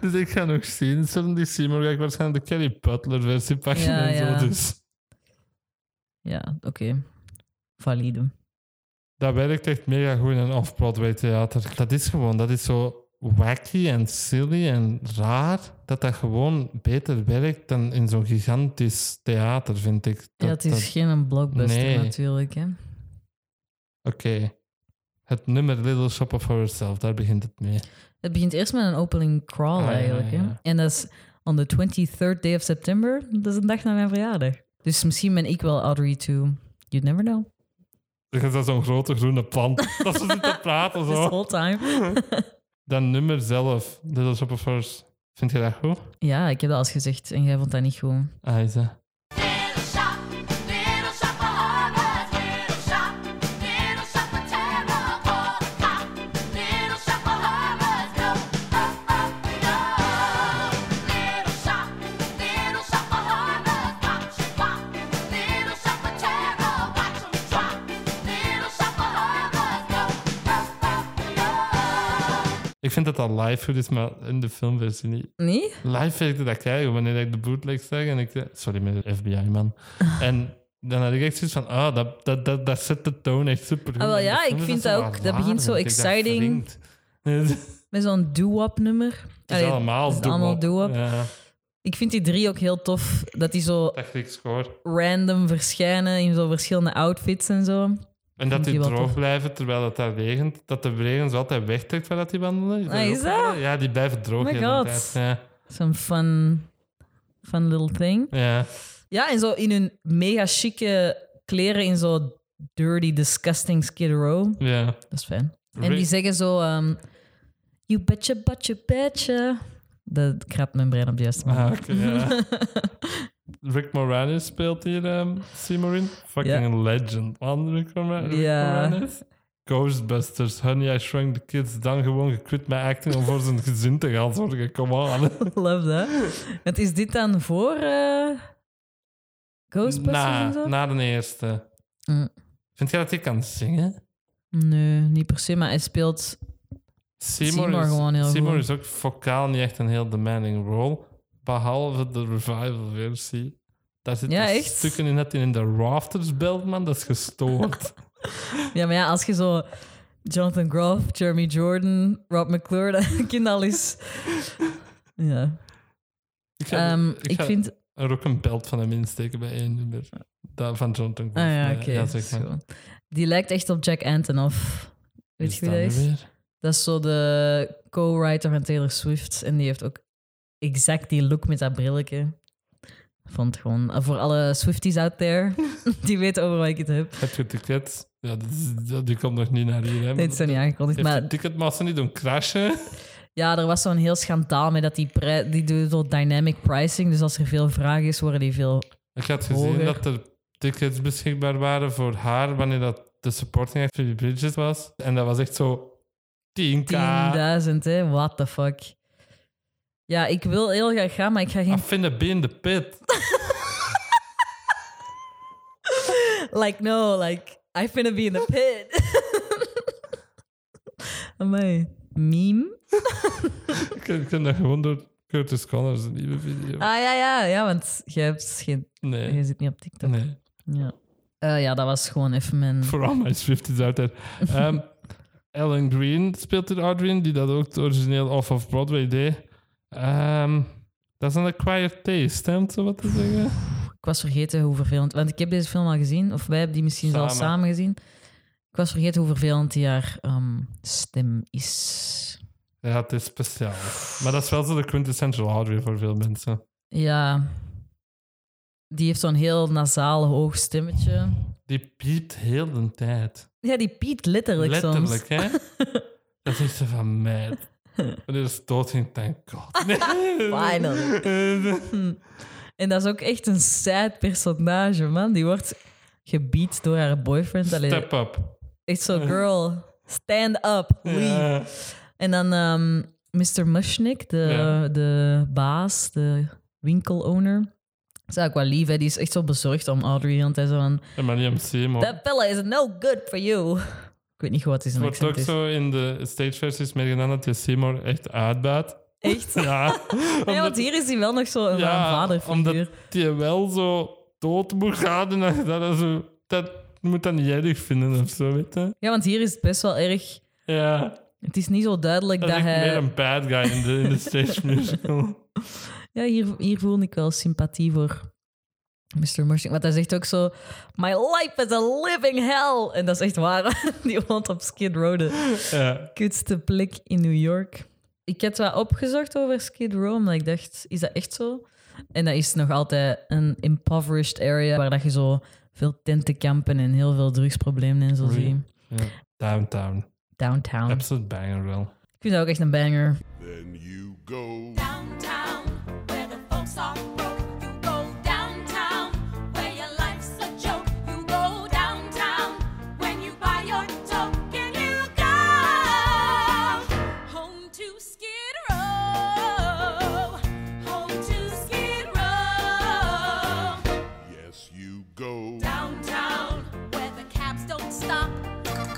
Dus ik ga nog zien. Zullen die Seymour ga ik waarschijnlijk de Kelly Butler versie pakken Ja, en zo. ja. Dus Ja, oké. Valide. dat werkt echt mega goed in een off-Broadway theater. Dat is gewoon, dat is zo wacky en silly en raar. Dat dat gewoon beter werkt dan in zo'n gigantisch theater, vind ik. Ja, het is geen blockbuster Nee. natuurlijk, hè. Oké. Het nummer Little Shop of Horrors zelf, daar begint het mee. Het begint eerst met een opening crawl Ah, ja, eigenlijk. ja, Hè? ja. En dat is on the 23rd day of September. Dat is een dag na mijn verjaardag. Dus misschien ben ik wel Audrey 2. You'd never know. Er is dat zo'n grote groene plant. Dat ze zit te praten This zo. whole time. Dat nummer zelf, Little Shop of Horrors, vind je dat goed? Ja, ik heb dat al eens gezegd en jij vond dat niet goed. Ah, is dat? Little shop, little shop of horrors. Little shop, little shop of terror. Call the cop. Little shop of horrors. No, oh, oh, no. Little shop, little shop of horrors. Watch it pop. Little shop of terror. Watch 'em drop. Little shop of horrors. No, oh, oh, no. Ik vind dat dat live goed is, maar in de filmversie niet. Nee? Live werkte dat krijgen wanneer ik de bootleg zag en ik... Sorry, met de FBI, man. En dan had ik echt zoiets van, ah, dat, dat, dat, dat zet de toon echt super goed. Ah, wel, En ja, dat ik nummer vind zo dat wat ook- dat begint zo vind ik, dat exciting. wringt. Het is Met zo'n doo-wop nummer. Allee, allemaal het is allemaal doe-op. doo-wop. Ja, Ik vind die drie ook heel tof. Dat die zo dat Grieks score. random verschijnen in zo verschillende outfits en zo. En dat Vind die je wel droog tof. blijven terwijl het daar regent. Dat de regen zo altijd wegtrekt waar dat die wandelen. Ah, is dat? Oh Ja, die blijven droog. my de hele God. tijd. Ja, Zo'n fun, fun little thing. ja. Ja, en zo in hun mega chique kleren in zo dirty, disgusting Skid Row. ja. Dat is fijn. En Re- die zeggen zo... ehm, you betcha, betcha, betcha. Dat krapt mijn brein op de juiste manier. Ah, oké, ja. Rick Moranis speelt hier ehm, Seymour in. Fucking legend, man. Rick, Mora- Rick Ja. Moranis. Ghostbusters, Honey, I Shrunk the Kids. Dan gewoon gequit met acting om voor zijn gezin te gaan zorgen. Come on. Love that. Want is dit dan voor eh, Ghostbusters en na, zo? na de eerste. Mm. Vind jij dat hij kan zingen? Nee, niet per se, maar hij speelt Seymour, Seymour is, gewoon heel Seymour goed. is ook vocaal niet echt een heel demanding role. Behalve de revival versie. Daar zitten Ja, echt? stukken in dat hij in de rafters belt, man. Dat is gestoord. Ja, maar ja, als je zo Jonathan Groff, Jeremy Jordan, Rob McClure, dat kind al is. Ja. ik ga, Ehm, ik ik ga vind. er ook een belt van hem insteken bij één nummer. Dat van Jonathan Ah Groff. ja, oké. zeg maar. zo. Die lijkt echt op Jack Antonoff. Weet Is je wie dat nu is? weer? Dat is zo de co-writer van Taylor Swift. En die heeft ook exact die look met dat brilletje. Vond gewoon... eh, Voor alle Swifties out there, die weten over wat ik het heb. Heb je tickets? Ja, dat is- dat- die komt nog niet naar hier. Hè, maar Dit is niet aangekondigd, heeft de maar... Ticketmaster niet doen crashen? Ja, er was zo'n heel schandaal met dat die... pri- Die doen zo dynamic pricing. Dus als er veel vraag is, worden die veel... Ik had gezien Hoger. dat er tickets beschikbaar waren voor haar wanneer dat de supporting act voor die Bridget was. En dat was echt zo 10k. 10.000, hè. What the fuck. Ja, ik wil heel graag gaan, maar ik ga geen... I vind het in de pit. Like, no, like, I finna be in the pit. Amai. Meme? Ik ken- ik ken dat gewoon door Curtis Connors, een nieuwe video. Ah ja, ja, ja, want je, hebt dus geen, je Nee, zit niet op TikTok. nee. Ja. Eh, ja, dat was gewoon even mijn. For all my Swifties out there. Ehm, Alan Green speelt er Audrey, die dat ook het origineel Off of Broadway deed. Ehm, dat is een acquired taste, hè, om het zo wat te zeggen. Ik was vergeten hoe vervelend. Want ik heb deze film al gezien, of wij hebben die misschien zelfs Samen. samen gezien. Ik was vergeten hoe vervelend die haar ehm, stem is. Ja, het is speciaal. Maar dat is wel zo de quintessential Audrey voor veel mensen. Ja. Die heeft zo'n heel nasaal hoog stemmetje. Die piept heel de tijd. Ja, die piet letterlijk, soms. Letterlijk, hè? Dat is ze van mij. Wanneer is dood in thank god. Nee. Finally. En dat is ook echt een sad personage, man. Die wordt gebied door haar boyfriend. Allee, Step up. Echt zo, girl, stand up, leave. Ja. En dan ehm, Mr. Mushnick, de, Ja. de baas, de winkelowner. Dat is eigenlijk wel lief, hè. Die is echt zo bezorgd om Audrey. Want hij is zo van, En Mariam Seymour. that fella is no good for you. Ik weet niet goed wat is Het een wordt ook accent is. zo in de stageversies meegedaan dat je Seymour echt uitbaat. Echt? Ja, Nee, want omdat- hier is hij wel nog zo een ja, vaderfiguur. omdat die wel zo dood moet gaan. En dat, je dat, zo, dat moet dan niet erg vinden of zo, weet je? Ja, want hier is het best wel erg... Ja, Het is niet zo duidelijk dat dat, eh, is echt hij... meer een bad guy in de, in de stage musical. Ja, hier, hier voelde ik wel sympathie voor Mr. Mushing. Want hij zegt ook zo... My life is a living hell. En dat is echt waar. Die woont op Skid Row, dus. de ja. kutste plek in New York. Ik had wat opgezocht over Skid Row, maar ik dacht, is dat echt zo? En dat is nog altijd een impoverished area waar dat je zo veel tentenkampen en heel veel drugsproblemen en zo Really? ziet. Ja. Downtown. Downtown. Absolute banger wel. Ik vind dat ook echt een banger. Then you go. Downtown, where the folks are broke. You go downtown, where your life's a joke. You go downtown, when you buy your token. You go home to Skid Row. Home to Skid Row. Yes, you go. Downtown, where the cabs don't stop.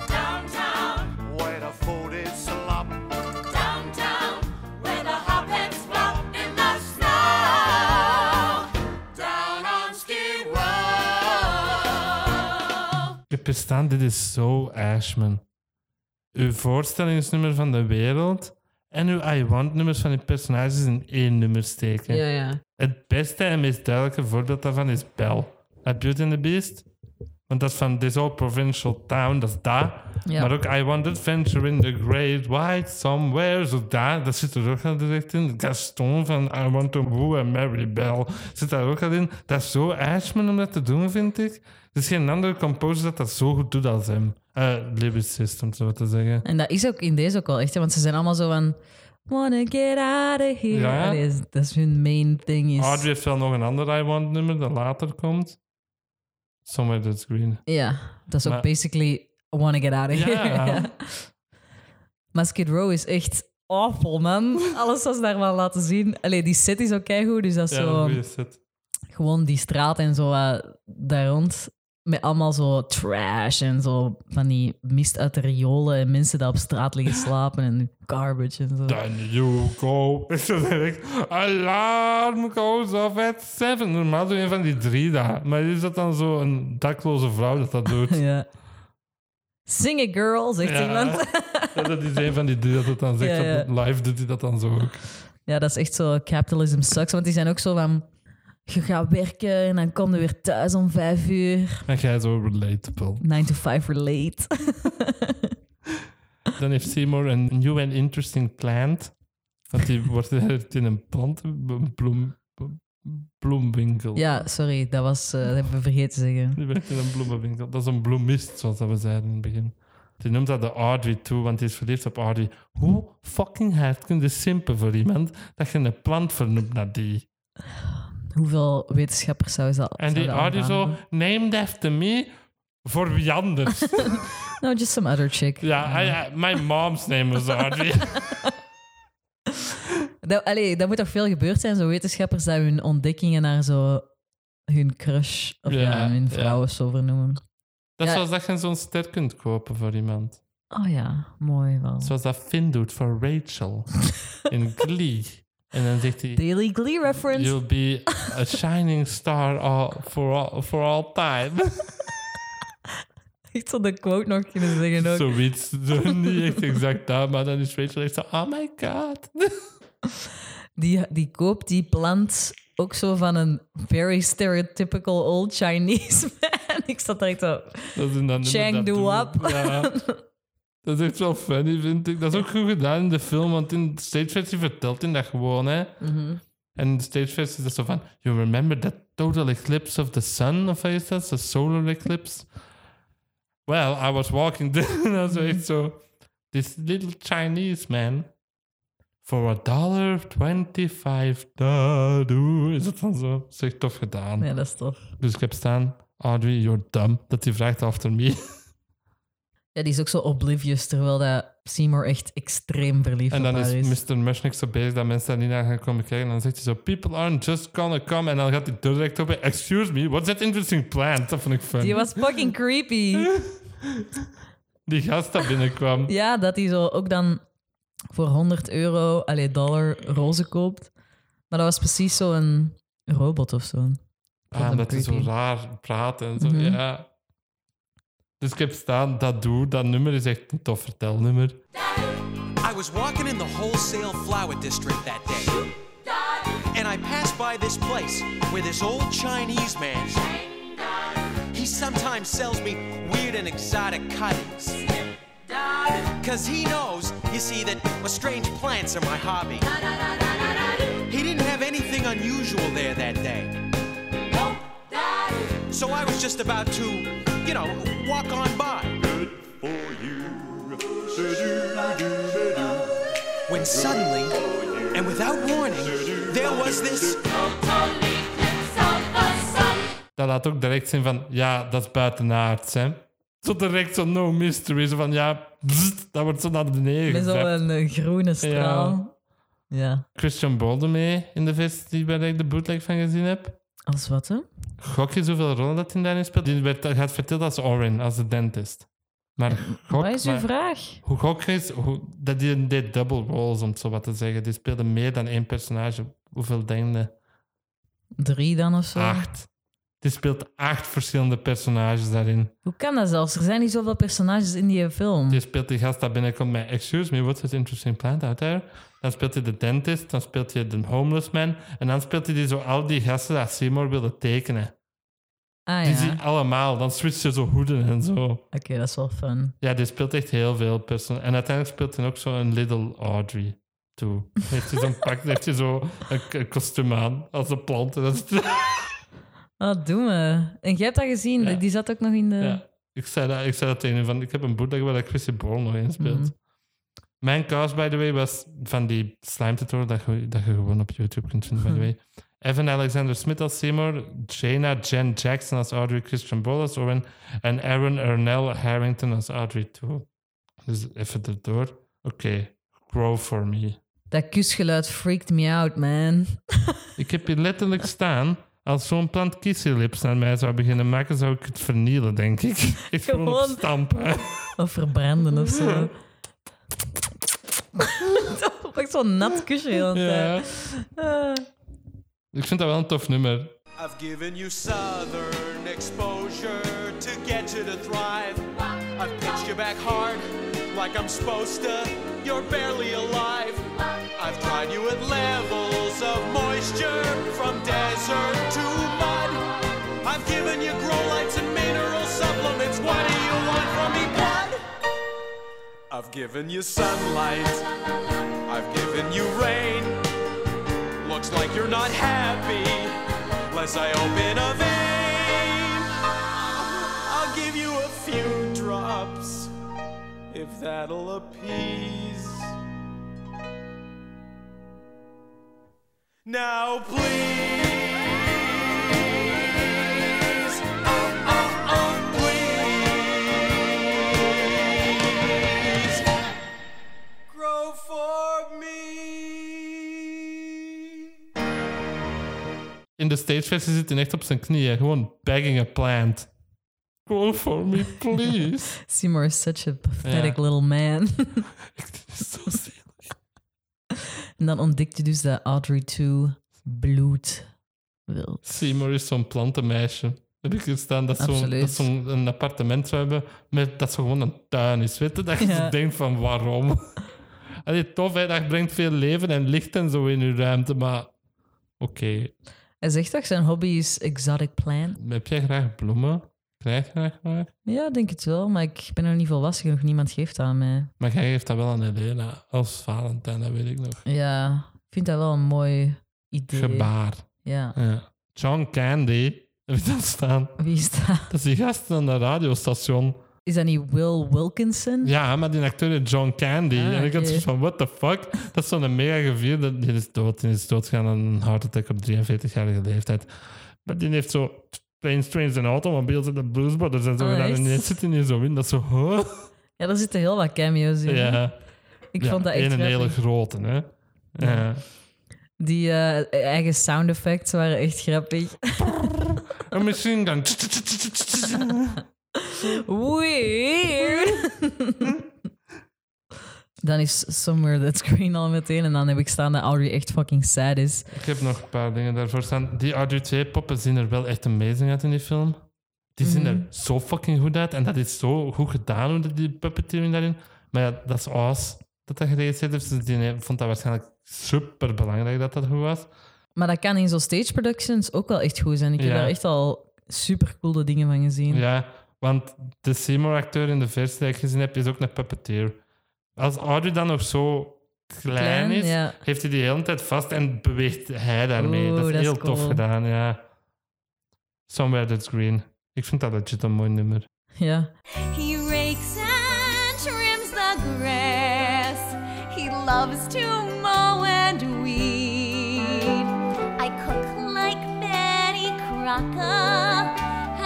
Downtown, Where the food is slop. downtown, where the hopheads flop in the snow. Down on Skid Row. Ik heb hier staan, dit is zo Ashman. Uw voorstellingsnummer van de wereld en uw I Want-nummers van die personages in één nummer steken. ja. Het beste en meest duidelijke voorbeeld daarvan is Belle. Uit Beauty and the Beast. Want dat is van This Old Provincial Town, dat is daar. Ja. Maar ook I Want Adventure in the Great White Somewhere, zo daar. Dat zit er ook al direct in. Gaston van I Want to Woo and Mary Belle zit daar ook al in. Dat is zo Ashman om dat te doen, vind ik. Er is geen andere composer dat dat zo goed doet als hem. Eh, lyricist, om zo wat te zeggen. En dat is ook in deze ook wel echt, hè, want ze zijn allemaal zo van... Wanna get out of here. Ja. Ah, dus Allee, is- dat is hun main thing. Is, Audrey heeft wel nog een ander I Want nummer dat later komt. Somewhere That's Green. Ja, dat is ook Maar- basically wanna get out of here. Ja. Ja. Maar Skid Row is echt awful, man. Alles was daar wel laten zien. Allee, die set is ook keigoed, dus dat is Ja, zo... goede set. Gewoon die straat en zo eh, daar rond. Met allemaal zo trash en zo van die mist uit de riolen en mensen die op straat liggen slapen en garbage en zo. Then you go. Is dat direct? Alarm goes off at seven. Normaal doe je van die drie daar. Maar is dat dan zo een dakloze vrouw dat dat doet? Ja. Sing it, girl, zegt Ja. iemand. Ja, dat is een van die drie dat het dan zegt. Ja, ja. Dat live doet hij dat dan zo ook. Ja, dat is echt zo. Capitalism sucks. Want die zijn ook zo van. Je gaat werken en dan kom je weer thuis om vijf uur. En jij zo relatable. 9 to 5 relate. Dan heeft Seymour een new and interesting plant. Want die wordt ergens in een plant, een bloem, bloemwinkel. ja, sorry, dat, was, eh, dat hebben we vergeten te zeggen. Die werkt in een bloemenwinkel. Dat is een bloemist, zoals dat we zeiden in het begin. Die noemt dat de Audrey toe, want die is verliefd op Audrey. Hoe fucking hard kun je simpen voor iemand dat je een plant vernoemt naar die? Hoeveel wetenschappers zouden dat En ah, die zouden Audrey aangedaan zo, hebben? named after me, voor wie anders? No, just some other chick. ja, I- I- my mom's name was Audrey. Dat, allee, dat moet toch veel gebeurd zijn, zo wetenschappers dat hun ontdekkingen naar zo hun crush of ja, Ja, hun ja. vrouw of zo vernoemen. Dat is Ja. zoals dat je zo'n ster kunt kopen voor iemand. Oh ja, mooi wel. Zoals dat Finn doet voor Rachel in Glee. En dan zegt hij... Daily Glee reference. You'll be a shining star all, for, all, for all time. Ik zou de quote nog kunnen zeggen ook. Zoiets. Zo Niet echt exact dat, maar dan is Rachel echt zo... Oh my god. die, die koopt die plant ook zo van een very stereotypical old Chinese man. Ik zat daar echt zo... Dat is dan Chang inderdaad doe hoe- op. Ja. Dat is echt wel funny, vind ik. Dat is ook goed gedaan in de film, want in de stageversie vertelt hij dat gewoon, hè. En in de stageversie is dat zo van... You remember that total eclipse of the sun, of wat is dat? The solar eclipse? Well, I was walking... the- en dan zo echt zo... This little Chinese man... For a dollar twenty-five... da, doe." Is dat dan zo? Dat is echt tof gedaan. Ja, dat is tof. Dus ik heb staan... Audrey, you're dumb. Dat hij vraagt after me. Ja, die is ook zo oblivious, terwijl dat Seymour echt extreem verliefd En op dan haar is. is Mr. Mushnick zo bezig dat mensen daar niet naar gaan komen kijken. En dan zegt hij zo, people aren't just gonna come. En dan gaat hij direct op, excuse me, what's that interesting plant? Dat vond ik fun. Die Die, was fucking creepy. gast dat binnenkwam. Ja, dat hij zo ook dan voor 100 euro, allee, dollar, rozen koopt. Maar dat was precies zo'n robot of zo. Ah, hem dat hij zo creepy. Mhm. raar praat en zo, ja. Dus ik heb staan, dat doe, dat nummer is echt een tof vertelnummer. I was walking in the wholesale flower district that day. And I passed by this place where this old Chinese man. He sometimes sells me weird and exotic cuttings. Cause he knows, you see, that well, strange plants are my hobby. He didn't have anything unusual there that day. So I was just about to, you know, walk on by. Good for you. Do-do-do-do-do. when suddenly, and without warning, there was this Dat laat ook direct zien van, ja, dat is buitenaards, hè. Zo direct zo no mystery, zo van, ja, bzzt, dat wordt zo naar beneden Met gezet. zo'n eh, groene straal. Ja. Christian Bolden mee in de vest die waar ik de bootleg van gezien heb. Als wat, hè? Gok je hoeveel rollen dat hij daarin speelt? Die werd, gaat verteld als Orin, als de dentist. Maar gok, Eh, Wat is uw maar- vraag? hoe gok is hoe, dat die deed double roles, om het zo wat te zeggen. Die speelde meer dan één personage. Hoeveel denk je? Drie dan of zo? Acht. Die speelt acht verschillende personages daarin. Hoe kan dat zelfs? Er zijn niet zoveel personages in die film. Die speelt die gast dat binnenkomt met Excuse me, what's this interesting plant out there? Dan speelt hij de dentist, dan speelt hij de homeless man. En dan speelt hij die zo al die gasten dat Seymour wilde tekenen. Ah Die ja, zie oké, je allemaal. Dan switcht je zo hoeden en zo. dat is wel fun. Ja, die speelt echt heel veel personen. En uiteindelijk speelt hij ook zo'n Little Audrey toe. Heeft hij zo'n pak, heeft hij zo een, k- een kostuum aan als een plant. En dat is- Oh, doe me. En jij hebt dat gezien, Ja. die zat ook nog in de... ja. ik, zei dat, ik zei dat tegen hem, van, ik heb een bootleg waar dat Chrissy Born nog in speelt. Mijn cast, by the way, was van die slime tutorial dat je, dat je gewoon op YouTube kunt vinden, by the way. Evan Alexander Smith als Seymour, Jaina Jen Jackson als Audrey, Christian Ball als Owen en Aaron Ernell Harrington als Audrey toe. Dus even erdoor. Oké, grow for me. Dat kusgeluid freaked me out, man. Ik heb hier letterlijk staan. Als zo'n plant kiesselips naar mij zou beginnen maken, zou ik het vernielen, denk ik. Ik gewoon op Gewoon. stampen. Of verbranden of zo. Dat was zo'n nat kusje de hele Ja. tijd. Ah. Ik vind dat wel een tof nummer. I've given you southern exposure to get you to thrive. I've pitched you back hard, like I'm supposed to. You're barely alive. I've tried you at levels of moisture, from desert to mud. I've given you grow lights and mineral supplements. What do you want from me, blood? I've given you sunlight. I've given you rain. Looks like you're not happy. Unless I open a vein, I'll give you a few drops if that'll appease. Now, please. Oh, oh, oh, please. Grow for me. In de stageversie zit hij echt op zijn knieën, gewoon begging a plant. Go for me, please. Seymour is such a pathetic Ja. little man. Dit is zo zielig. en dan ontdekt je dus dat Audrey 2 bloed wil. Seymour is zo'n plantenmeisje. Heb ik gestaan dat zo'n Absoluut. dat zo'n een appartement zou hebben met dat zo gewoon een tuin is. Weet je? Dat je Ja. zo denkt van waarom? Allee, tof, hè? dat brengt veel leven en licht en zo in je ruimte, maar oké. Hij zegt toch, zijn hobby is exotic plant. Heb jij graag bloemen? Krijg je graag maar? Ja, ik denk het wel, maar ik ben nog niet volwassen genoeg. Niemand geeft aan mij. Maar jij geeft dat wel aan Helena als Valentijn, dat weet ik nog. Ja, ik vind dat wel een mooi idee. Gebaar. Ja. Ja. John Candy, heb je dat staan? Wie is dat? Dat is die gast aan de radiostation. Is dat niet Will Wilkinson? Ja, maar die acteur is John Candy. Ah, en ik had oké. zoiets van, what the fuck? Dat is zo'n mega gevierde. Die is dood. Die is doodgegaan aan een heart attack op 43-jarige leeftijd. Maar die heeft zo planes, trains en automobiles en de Blues Brothers en zo. Oh, gedaan. echt? en ineens zit hij niet zo in. Dat is zo... huh? Ja, daar zitten heel wat cameo's in. Ja. Ik Ja, vond dat echt één een hele grappig. grote, hè. Ja. Die eh, eigen sound effects waren echt grappig. Een machine gun. Weird. dan is Somewhere That's Green al meteen. En dan heb ik staan dat Audrey echt fucking sad is. Ik heb nog een paar dingen daarvoor staan. Die R2-poppen zien er wel echt amazing uit in die film. Die zien er zo fucking goed uit. En dat is zo goed gedaan, hoe dat die puppeteering daarin. Maar ja, dat is Oz dat dat geregisseerd heeft. Dus die vond dat waarschijnlijk super belangrijk dat dat goed was. Maar dat kan in zo'n stage productions ook wel echt goed zijn. Ik heb Ja. daar echt al super coole dingen van gezien. Ja, want de Seymour-acteur in de versie die ik gezien heb, is ook een puppeteer. Als Audrey dan nog zo klein, Klein, is, ja. heeft hij die de hele tijd vast en beweegt hij daarmee. Oeh, dat is dat is heel tof cool. gedaan, ja. Somewhere That's Green. Ik vind dat legit een mooi nummer. Ja. He rakes and trims the grass. He loves to mow and weed. I cook like Betty Crocker,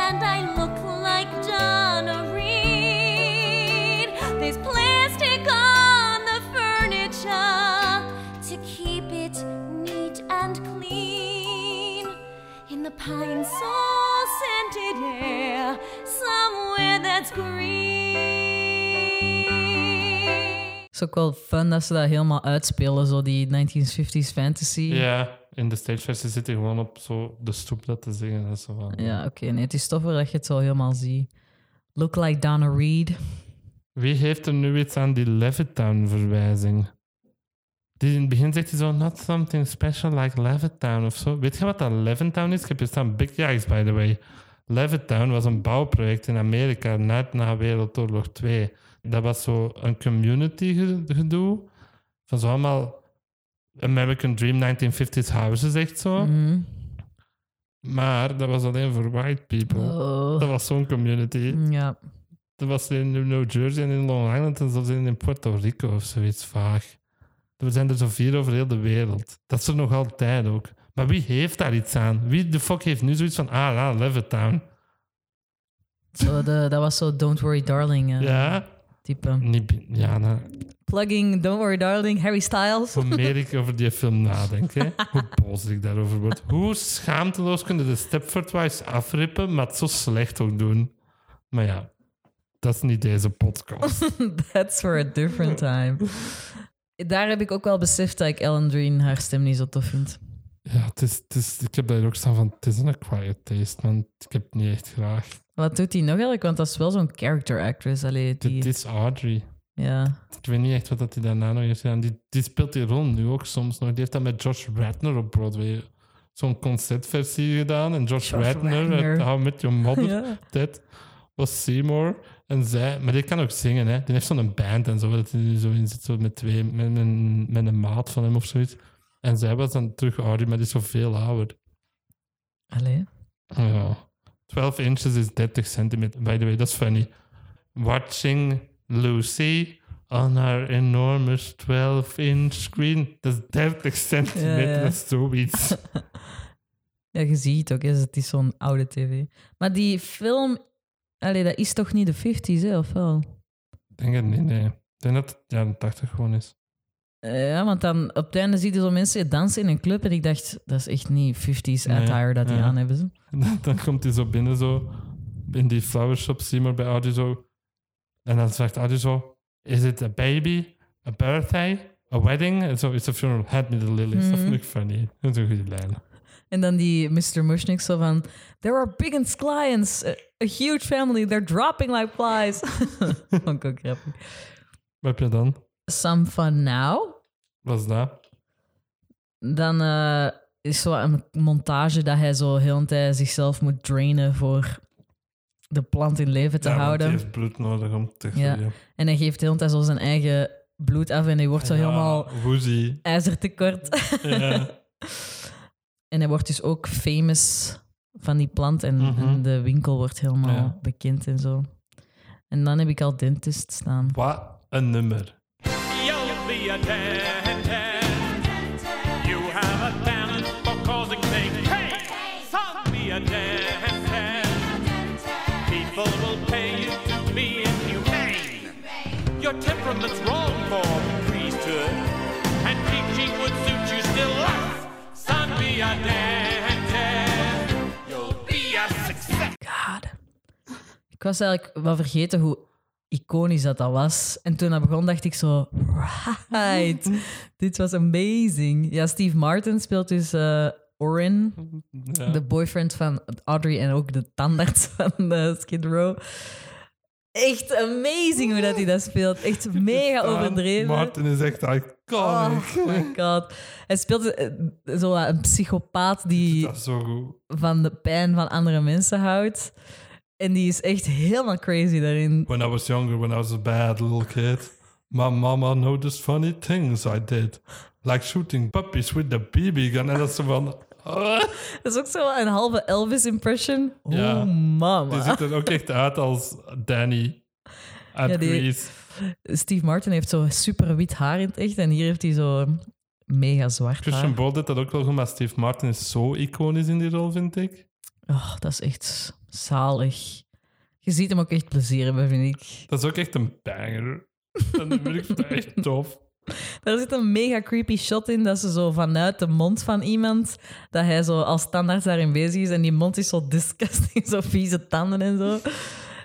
and I look like Donna Reed. There's plastic on the furniture to keep it neat and clean. In the pine saw scented air, somewhere that's green. Het is ook wel fun dat ze dat helemaal uitspelen. Zo die 1950s fantasy. Ja, in de stageversie zit hij gewoon op zo de stoep dat te zingen. Dat is zo van, Ja, oké. Nee, het is toffer dat je het zo helemaal ziet. Look like Donna Reed. Wie heeft er nu iets aan die Levittown-verwijzing? Die in het begin zegt hij zo, not something special like Levittown of zo. Weet je wat dat Levittown is? Ik heb hier staan Big Yikes, by the way. Levittown was een bouwproject in Amerika net na Wereldoorlog 2. Dat was zo een community ge- gedoe van zo allemaal American Dream 1950s houses, echt zo. Mhm. Maar dat was alleen voor white people. Oh. Dat was zo'n community. Ja. Dat was in New Jersey en in Long Island en zelfs in Puerto Rico of zoiets vaag. Er zijn er zo vier over heel de wereld. Dat is er nog altijd ook. Maar wie heeft daar iets aan? Wie de fuck heeft nu zoiets van, ah, ja, Levittown? Zo de, dat was zo Don't Worry Darling. eh. Ja? type. Niet, bi- ja, nou, Plugging Don't Worry Darling, Harry Styles. hoe meer ik over die film nadenk, hè, hoe boos ik daarover word. Hoe schaamteloos kunnen de Stepford Wives afrippen, maar het zo slecht ook doen. Maar ja, dat is niet deze podcast. That's for a different time. Daar heb ik ook wel beseft dat ik Ellen Dreen haar stem niet zo tof vind. ja, het is, het is, ik heb daar ook staan van, het is een quiet taste, want ik heb het niet echt graag. Wat doet die nog eigenlijk? Want dat is wel zo'n character actress. Allee, Dit die, is Audrey. ja. Ik weet niet echt wat dat hij daarna nog heeft gedaan. Die, die speelt die rol nu ook soms nog. Die heeft dat met Josh Radner op Broadway. eh, Zo'n concertversie gedaan. En Josh, Josh Radner, Radner. uit How I Met Your Mother, Ja. dat was Seymour. En zij, maar die kan ook zingen, hè. Die heeft zo'n band en zo, waar dat hij nu zo in zit, zo met, twee, met, met, met een maat van hem of zoiets. En zij was dan terug Audrey, maar die is zo veel ouder. Allee. Ja. 12 inches is 30 centimeter. By the way, that's funny. Watching Lucy on her enormous 12-inch screen. Dat is 30 centimeter, Ja, ja. dat is zoiets. Ja, je ziet het ook. Is het is zo'n oude tv. Maar die film... Allee, dat is toch niet de 50s, hè, of wel? Ik denk het niet, nee. Ik denk dat het jaren 80 gewoon is. Eh, Ja, want dan op het einde zie je zo mensen dansen in een club. En ik dacht, dat is echt niet 50s Nee, attire dat die ja. aan hebben. ze. En dan, dan komt hij zo binnen, zo in die flower shop, zie maar bij Audi zo. En dan zegt Audi zo: Is it a baby, a birthday, a wedding? En zo is a funeral. Hand me the lilies. Mhm. Dat vind ik funny. Dat is een goede lijn. En dan die Mr. Mushnick zo van... There are big and clients. A, a huge family. They're dropping like flies. Vond ik ook grappig. Wat heb je dan? Some fun now. Wat is dat? Dan eh, is zo een montage dat hij zo heel een tijd zichzelf moet drainen voor de plant in leven te houden. heeft bloed nodig om te Ja. groeien. En hij geeft heel een tijd zo zijn eigen bloed af en hij wordt zo helemaal Woozy. ijzertekort. Ja. En hij wordt dus ook famous van die plant en, Mhm. en de winkel wordt helemaal Ja. bekend en zo. En dan heb ik al dentist staan. Wat een nummer. You'll be a dentist. You have a talent for causing things pain. So be a dentist. People will pay you to be inhumane. Your temperament's wrong for priesthood, and teaching would suit you still less. Son, be a dentist. You'll be a success. God. Ik was eigenlijk wel vergeten hoe iconisch dat, dat was. En toen dat begon, dacht ik zo... Right, dit was amazing. Ja, Steve Martin speelt dus eh, Orin, de boyfriend van Audrey en ook de tandarts van eh, Skid Row. Echt amazing hoe dat hij dat speelt. Echt mega overdreven. Martin is echt iconic. Oh my god. Hij speelt eh, zo wat een psychopaat die Dat is zo goed. van de pijn van andere mensen houdt. En die is echt helemaal crazy daarin. When I was younger, when I was a bad little kid, my mama noticed funny things I did. Like shooting puppies with the BB gun. En dat is zo van... ah. Dat is ook zo wel een halve Elvis-impression. Ja. Dus Oh, mama. die ziet er ook echt uit als Danny. Uit Ja, die- Grease. Steve Martin heeft zo super wit haar in het echt. En hier heeft hij zo mega zwart haar. Christian Bale deed dat ook wel goed, maar Steve Martin is zo iconisch in die rol, vind ik. Oh, dat is echt zalig. Je ziet hem ook echt plezier hebben, vind ik. Dat is ook echt een banger. En dat vind ik vind dat echt tof. Daar zit een mega creepy shot in dat ze zo vanuit de mond van iemand, dat hij zo als standaard daarin bezig is. En die mond is zo disgusting, zo vieze tanden en zo.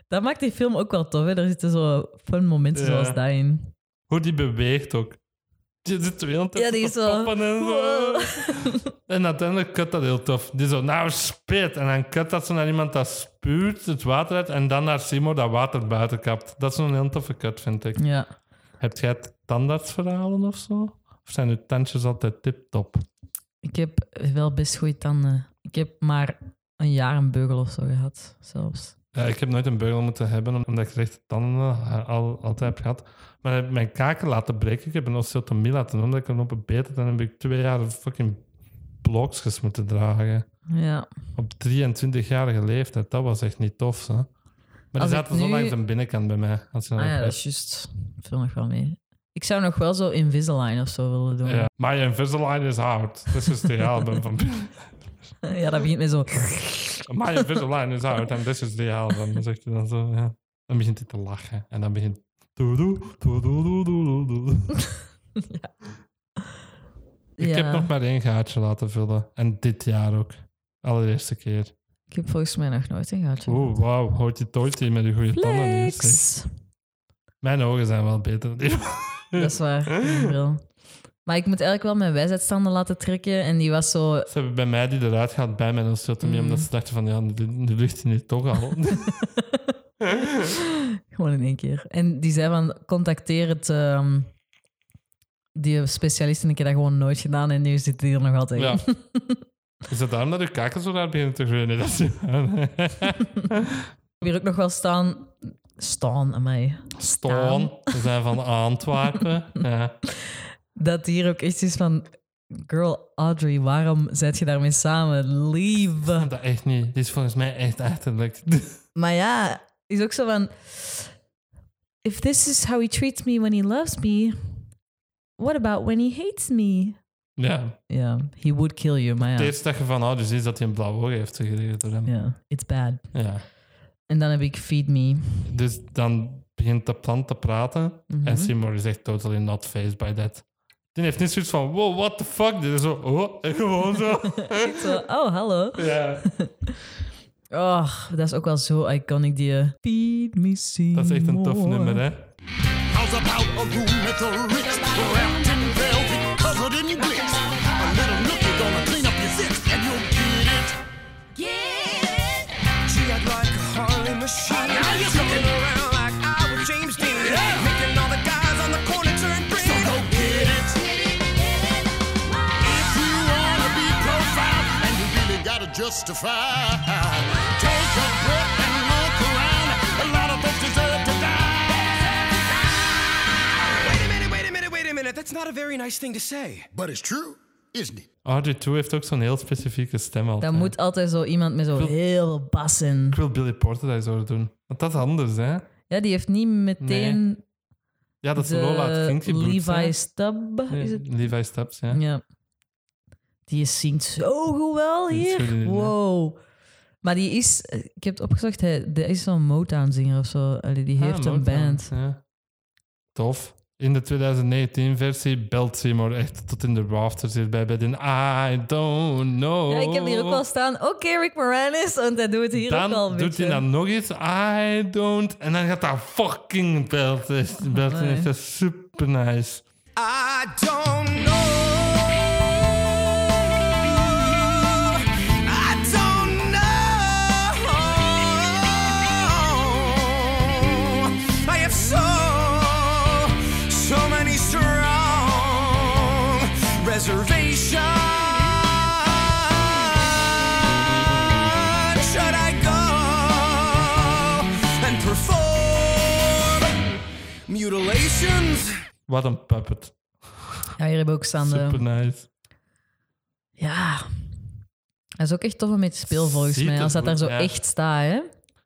Dat maakt die film ook wel tof. Hè? Er zitten zo fun momenten Ja. zoals daarin. Hoe die beweegt ook. Die zit de hele tijd Ja, die te is zo- poppen en zo. En uiteindelijk kut dat heel tof. Die zo, nou spit. En dan kut dat ze naar iemand dat spuurt het water uit en dan naar Simo dat water buiten kapt. Dat is een heel toffe kut, vind ik. Ja. Heb jij het tandartsverhalen of zo? Of zijn uw tandjes altijd tip-top? Ik heb wel best goede tanden. Ik heb maar een jaar een beugel of zo gehad, zelfs. Ja, Eh, ik heb nooit een beugel moeten hebben, omdat ik rechte tanden eh, al, altijd heb gehad. Maar ik heb mijn kaken laten breken. Ik heb een osteotomie laten doen, omdat ik een opgebeten. Dan heb ik twee jaar fucking blokjes moeten dragen. Ja. Op 23-jarige leeftijd. Dat was echt niet tof, hè. Maar Als die ik zaten zo nu- langs de binnenkant bij mij. Als je Ah dan ja, ook- dat is juist. Dat viel nog wel mee. Ik zou nog wel zo Invisalign of zo willen doen. ja. Maar je Invisalign is hard. Dat is dus the album van... Ja, dat begint met zo... My dus Invisalign is hard and this is the album. Dan zegt hij dan zo, ja. Dan begint hij te lachen. En dan begint... Doedoe, doedoe, doedoe, doedoe. Ik ja. heb nog maar één gaatje laten vullen. En dit jaar ook. Allereerste keer. ik heb volgens mij nog nooit een gaatje. Oeh, wauw. Hoort die met die goede tanden hier. zeg. Hm. Flex! Mijn ogen zijn wel beter. dan die van- Dat is waar. geen bril. Maar ik moet eigenlijk wel mijn wijsheidstanden laten trekken. En die was zo... Ze hebben bij mij die eruit gaat bij mijn osteotomie, Mm. omdat ze dachten van, ja, nu, nu ligt hij nu toch al. Gewoon in één keer. En die zei van, contacteer het... ehm, die specialist. En ik heb dat gewoon nooit gedaan. En nu zit die er nog altijd ja. in. Is dat daarom dat je kaken zo raar beginnen te groeien? Nee, dat is niet waar. Ik heb hier ook nog wel staan... Staan, mij. Stoon. Ze zijn van Antwerpen. Ja. dat die hier ook echt is van... Girl, Audrey, waarom zet je daarmee samen? Lieve. Dat echt niet. Dit is volgens mij echt achterlijk. Maar ja, is ook zo van... If this is how he treats me when he loves me... What about when he hates me? Ja. Ja, he would kill you, maar Het ja. eerste dat je van ouders is dat hij een blauw oog heeft gekregen door hem. Ja. Ja, it's bad. En dan heb ik Feed Me. Dus dan begint de plant te praten Mhm. en Seymour is echt totally not phased by that. Die heeft niet zoiets van, wow, what the fuck? Dit is zo, oh, en gewoon zo. Zo, oh, hallo. ja. Och, dat is ook wel zo iconic, die... eh, Feed me, Dat is echt een tof Seymour. nummer, hè. How's about a room at the Ritz, wrapped in velvet, covered in glitz? A little nookie gonna clean up your zits, and you'll get it. She act like a Harley machine. Now you're looking around like I was James Dean. Making all the guys on the corner turn green. So go get it. If you wanna be profiled, and you really gotta justify, take a breath and look around. A lot of folks deserve to die, Wait a minute, wait a minute, wait a minute. That's not a very nice thing to say. but it's true, isn't it? RG2 heeft ook zo'n heel specifieke stem altijd. Dan moet altijd zo iemand met zo heel bassen. Ik wil Billy Porter dat eens horen doen. Want dat is anders, hè. Ja, die heeft niet meteen Ja, dat is Lola het de kindje bloed, hè. Levi Stubb. Is het? Levi Stubbs, ja. Ja. Die is zingt zo goed wel Die is goed in, hier. ja. Wow. Maar die is, eh, ik heb het opgezocht, hij die is zo'n Motown-zinger of zo. Allee, die Ah, heeft een Motown, band. ja. Tof. In de 2019-versie belt Seymour echt tot in de rafters hierbij bij den I don't know. Ja, ik heb hier ook wel staan. Oké, Rick Moranis, want hij doet hier Dan ook al een doet hij beetje. dan nog iets. I don't... En dan gaat dat fucking belt. Belt Amai. is dat super nice. I don't know. I don't know. I have so, so many strong reservations. Should I go and perform mutilations? Wat een puppet. Ja, hier hebben we ook staan. de- Super nice. ja. Dat is ook echt tof om mee te spelen, volgens Ziet mij. er Als dat goed daar zo uit. echt staat, hè.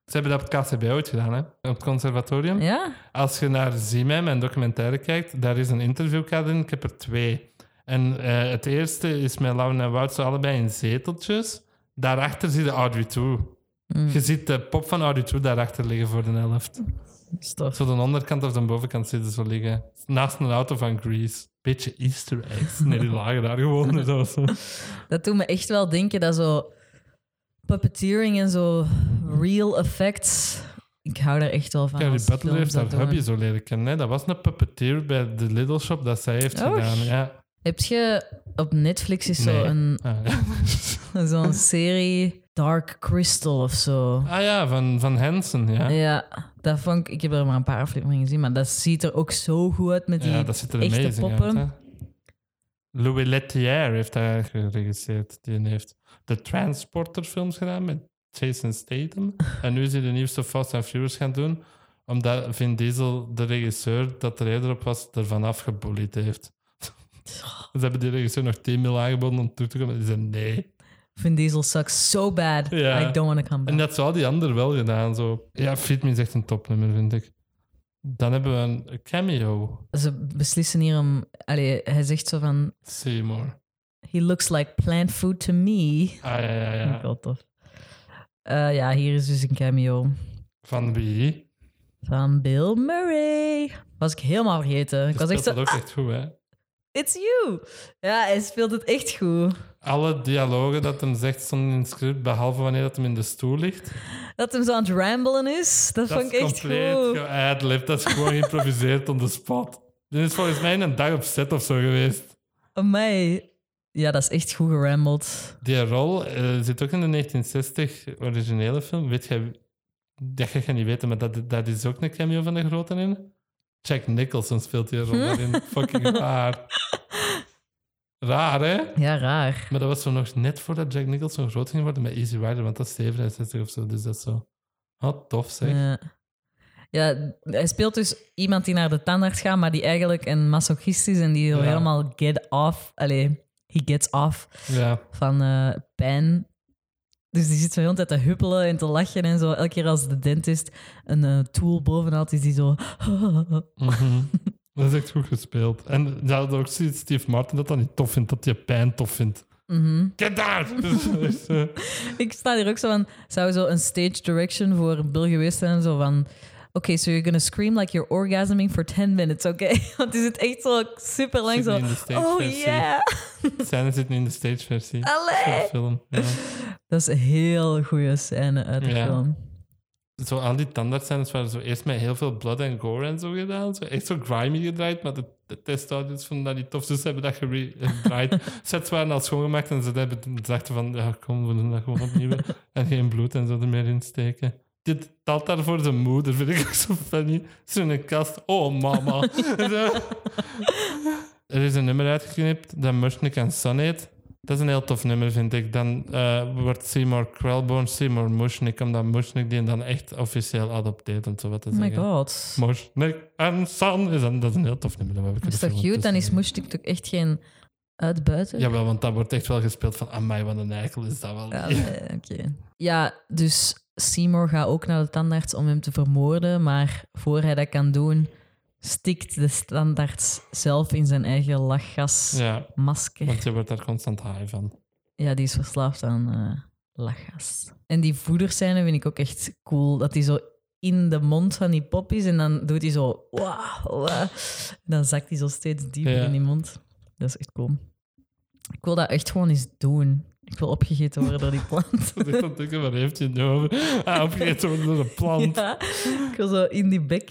Ze hebben dat op het KCB ooit gedaan, hè? op het conservatorium. Ja? Als je naar Zimem en documentaire kijkt, daar is een interviewkader in. Ik heb er twee. En eh, het eerste is met Lauren en Wout, ze allebei in zeteltjes. Daarachter zie je Audrey 2. Mm. Je ziet de pop van Audrey 2 daarachter liggen voor de helft. Dat is tof. Zo de onderkant of de bovenkant zitten ze liggen. Naast een auto van Grease. Beetje easter eggs. Nee, die lagen daar gewoon. Zo, zo. Dat doet me echt wel denken dat zo puppeteering en zo real effects. Ik hou daar echt wel van. Carrie als Butler films heeft dat haar doen. hubby zo leren kennen. hè. Dat was een puppeteer bij de Little Shop dat zij heeft Oh, gedaan. sh- Ja. Heb je op Netflix is Nee. zo'n Ah, ja. zo'n serie Dark Crystal of zo. Ah ja, van, van Hansen, ja. Ja, dat vond ik. Ik heb er maar een paar afleveringen gezien, maar dat ziet er ook zo goed uit met die ja, dat ziet er echte amazing poppen. uit. Hè? Louis Lettier heeft daar geregisseerd. Die heeft de Transporter-films gedaan met Jason Statham. en nu is hij de nieuwste Fast and Furious gaan doen, omdat Vin Diesel, de regisseur dat er eerder op was, ervan afgebullied heeft. Ze hebben die regisseur nog 10 mil aangeboden om toe te komen. Die zei nee. Vin Diesel sucks so bad. Ja. I don't want to come En back. dat zou die ander wel gedaan. Zo. Ja, Fit Me is echt een topnummer, vind ik. Dan hebben we een cameo. Ze beslissen hier om. Allee, hij zegt zo van. Seymour. He looks like plant food to me. Ah ja, ja, Vind ik ja. wel tof. Eh, ja, hier is dus een cameo. Van wie? Van Bill Murray. Was ik helemaal vergeten. Ik was echt dat zo, ook echt goed, hè? it's you. Ja, hij speelt het echt goed. Alle dialogen dat hem zegt stonden in het script, behalve wanneer dat hem in de stoel ligt. Dat hem zo aan het ramblen is, dat, Dat vond ik is echt compleet goed. geadlibbed. Dat is gewoon geïmproviseerd on the spot. Dit is volgens mij in een dag op set of zo geweest. Amai. Ja, dat is echt goed gerambeld. Die rol eh, zit ook in de 1960 originele film. Weet jij, dat ga je niet weten, maar dat, dat is ook een cameo van de grote in. Jack Nicholson speelt die Hm? rol daarin. Fucking raar. Raar, hè? Ja, raar. Maar dat was zo nog net voordat Jack Nicholson groot ging worden met Easy Rider, want dat is 67 of zo. Dus dat is zo. Wat tof zeg. Ja. ja, hij speelt dus iemand die naar de tandarts gaat, maar die eigenlijk een masochist is en die er Ja. helemaal get off... Allee, he gets off Ja. van eh, pijn. Dus die zit zo de hele tijd te huppelen en te lachen en zo. Elke keer als de dentist een eh, tool boven had, is die zo... Mhm. Dat is echt goed gespeeld. En ze hadden ook zoiets Steve Martin dat dat niet tof vindt, dat je pijn tof vindt. Mhm. Get daar! Dus dat is, eh, Ik sta hier ook zo van... Zou zo een stage direction voor Bill geweest zijn? Zo van... Oké, so you're gonna scream like you're orgasming for 10 minutes, oké? Want is het echt zo super lang Zit zo... niet in de stage Oh versie." yeah! Scène zit nu in de stageversie. van de Allee! film. Ja. Dat is een heel goede scène uit de Ja. film. Oh Zo aan die tandartscènes waren zo eerst met heel veel blood en gore en zo gedaan. Zo, echt zo grimy gedraaid, maar de, de testaudience vonden dat niet tof. Dus ze hebben dat gere- gedraaid. Sets waren al schoongemaakt en ze hebben, ze dachten van, ja, kom, we doen dat gewoon opnieuw. en geen bloed en zo er meer in steken. Dit telt daarvoor zijn moeder, vind ik ook zo funny. Zo'n kast, oh mama. Zo. er is een nummer uitgeknipt dat Mushnik en Son heet. Dat is een heel tof nummer, vind ik. Dan eh, wordt Seymour Krelborn Seymour Mushnik, omdat Mushnik die dan echt officieel adopteert, om zo wat te Oh my zeggen. god. Mushnik en Son, is een, dat is een heel tof nummer. Dat heb ik Dat is er toch even cute? Dan is tussen. Mushtik toch echt geen uitbuiten? Jawel, want dat wordt echt wel gespeeld van, amai, wat een eikel is dat wel. Ja, nee, Eh, oké. Ja, dus Seymour gaat ook naar de tandarts om hem te vermoorden, maar voor hij dat kan doen, stikt de tandarts zelf in zijn eigen ja, lachgasmasker. Ja, want je wordt daar constant high van. die is verslaafd aan eh, lachgas. En die voederscène vind ik ook echt cool, dat hij zo in de mond van die pop is en dan doet hij zo... "Wah, wah." En Dan zakt hij zo steeds dieper Ja. in die mond. Dat is echt cool. Ik wil dat echt gewoon eens doen. Ik wil opgegeten worden door die plant. Dat is echt aan het denken, waar heeft je het nu over? Ah, opgegeten worden door een plant. Ja, ik wil zo in die bek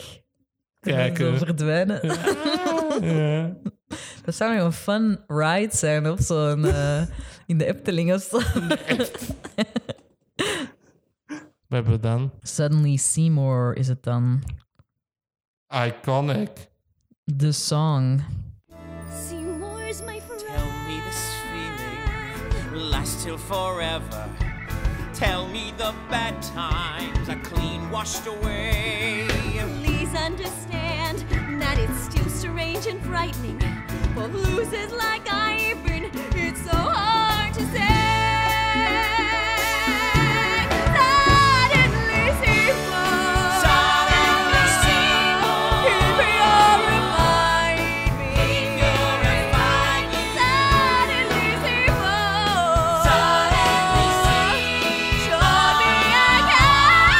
en dan Kijken. zo verdwijnen. Ja. Dat zou nog een fun ride zijn op zo'n... eh, in de Efteling of zo. Wat hebben we dan? Suddenly Seymour is het dan. Iconic. The song. Seymour's my Tell friend. me this feeling will last till forever. Tell me the bad times are clean washed away. Please understand that it's still strange and frightening. For losers like I've been, it's so hard to say. Suddenly Seymour. Suddenly Seymour. He purified me. purified me. Suddenly Seymour. Suddenly Showed me again.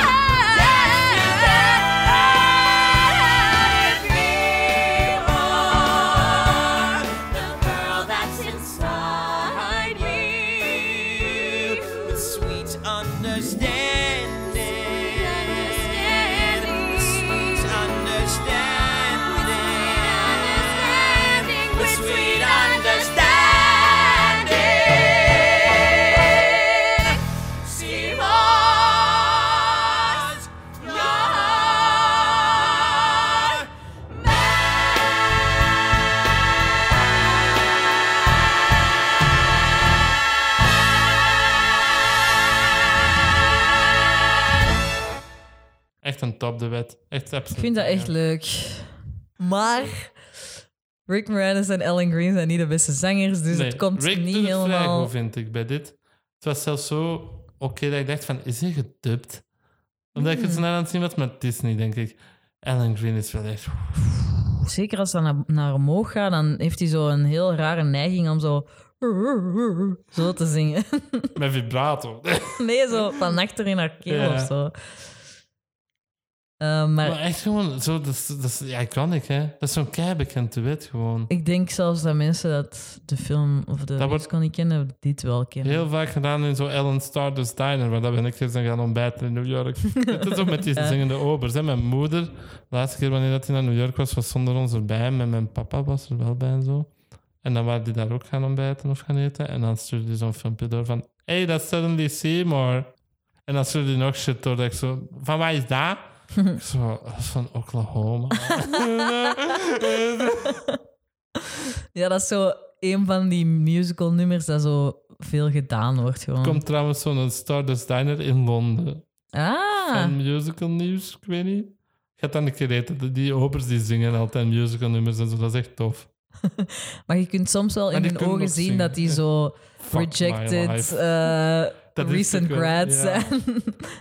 that I'd be more the girl that's inside me. With sweet understanding. Understanding. Sweet understanding. Understanding With with sweet sweet understanding. Seymour's your Echt een top, de wet. Echt absoluut. Ik vind dat echt leuk. Maar Rick Moranis en Ellen Green zijn niet de beste zangers, dus het komt Rick doet niet het vrij helemaal... goed, vind ik, bij dit. Het was zelfs zo oké dat ik dacht van, is hij gedubt? Omdat Hmm. ik het zo naar aan het zien was met Disney, denk ik. Alan Green is wel echt... Zeker als dat naar, naar omhoog gaat, dan heeft hij zo een heel rare neiging om zo... Zo te zingen. Met vibrato. Nee, zo van achter in haar keel Ja. of zo. Eh, Maar maar echt gewoon, zo, dat, is, dat is iconic, hè? Dat is zo'n keibekend duet gewoon. ik denk zelfs dat mensen dat de film of de wordt- musical niet kennen, dit wel kennen. Heel vaak gedaan in zo'n Ellen Stardust Diner, waar dat ben ik gisteren gaan ontbijten in New York. Het is ook met die zingende obers. Hè? Mijn moeder, de laatste keer wanneer dat hij naar New York was, was zonder ons erbij. Met mijn papa was er wel bij en zo. En dan waren die daar ook gaan ontbijten of gaan eten. En dan stuurde hij zo'n filmpje door van... Hey, that's Suddenly Seymour. En dan stuurde hij nog shit door dat ik zo... Van waar is dat? Ik zo, dat is van Oklahoma. Ja, dat is zo een van die musical nummers dat zo veel gedaan wordt. Gewoon. Komt trouwens zo'n Stardust Diner in Londen. ah, En musical nieuws, ik weet niet. Ik had dan een keer eten. Die- Die opers die zingen altijd musical nummers en zo. Dat is echt tof. maar je kunt soms wel in die hun kunnen ogen nog zien zingen. dat die zo my rejected life. eh, Dat wist recent ik wel, ja. grads zijn.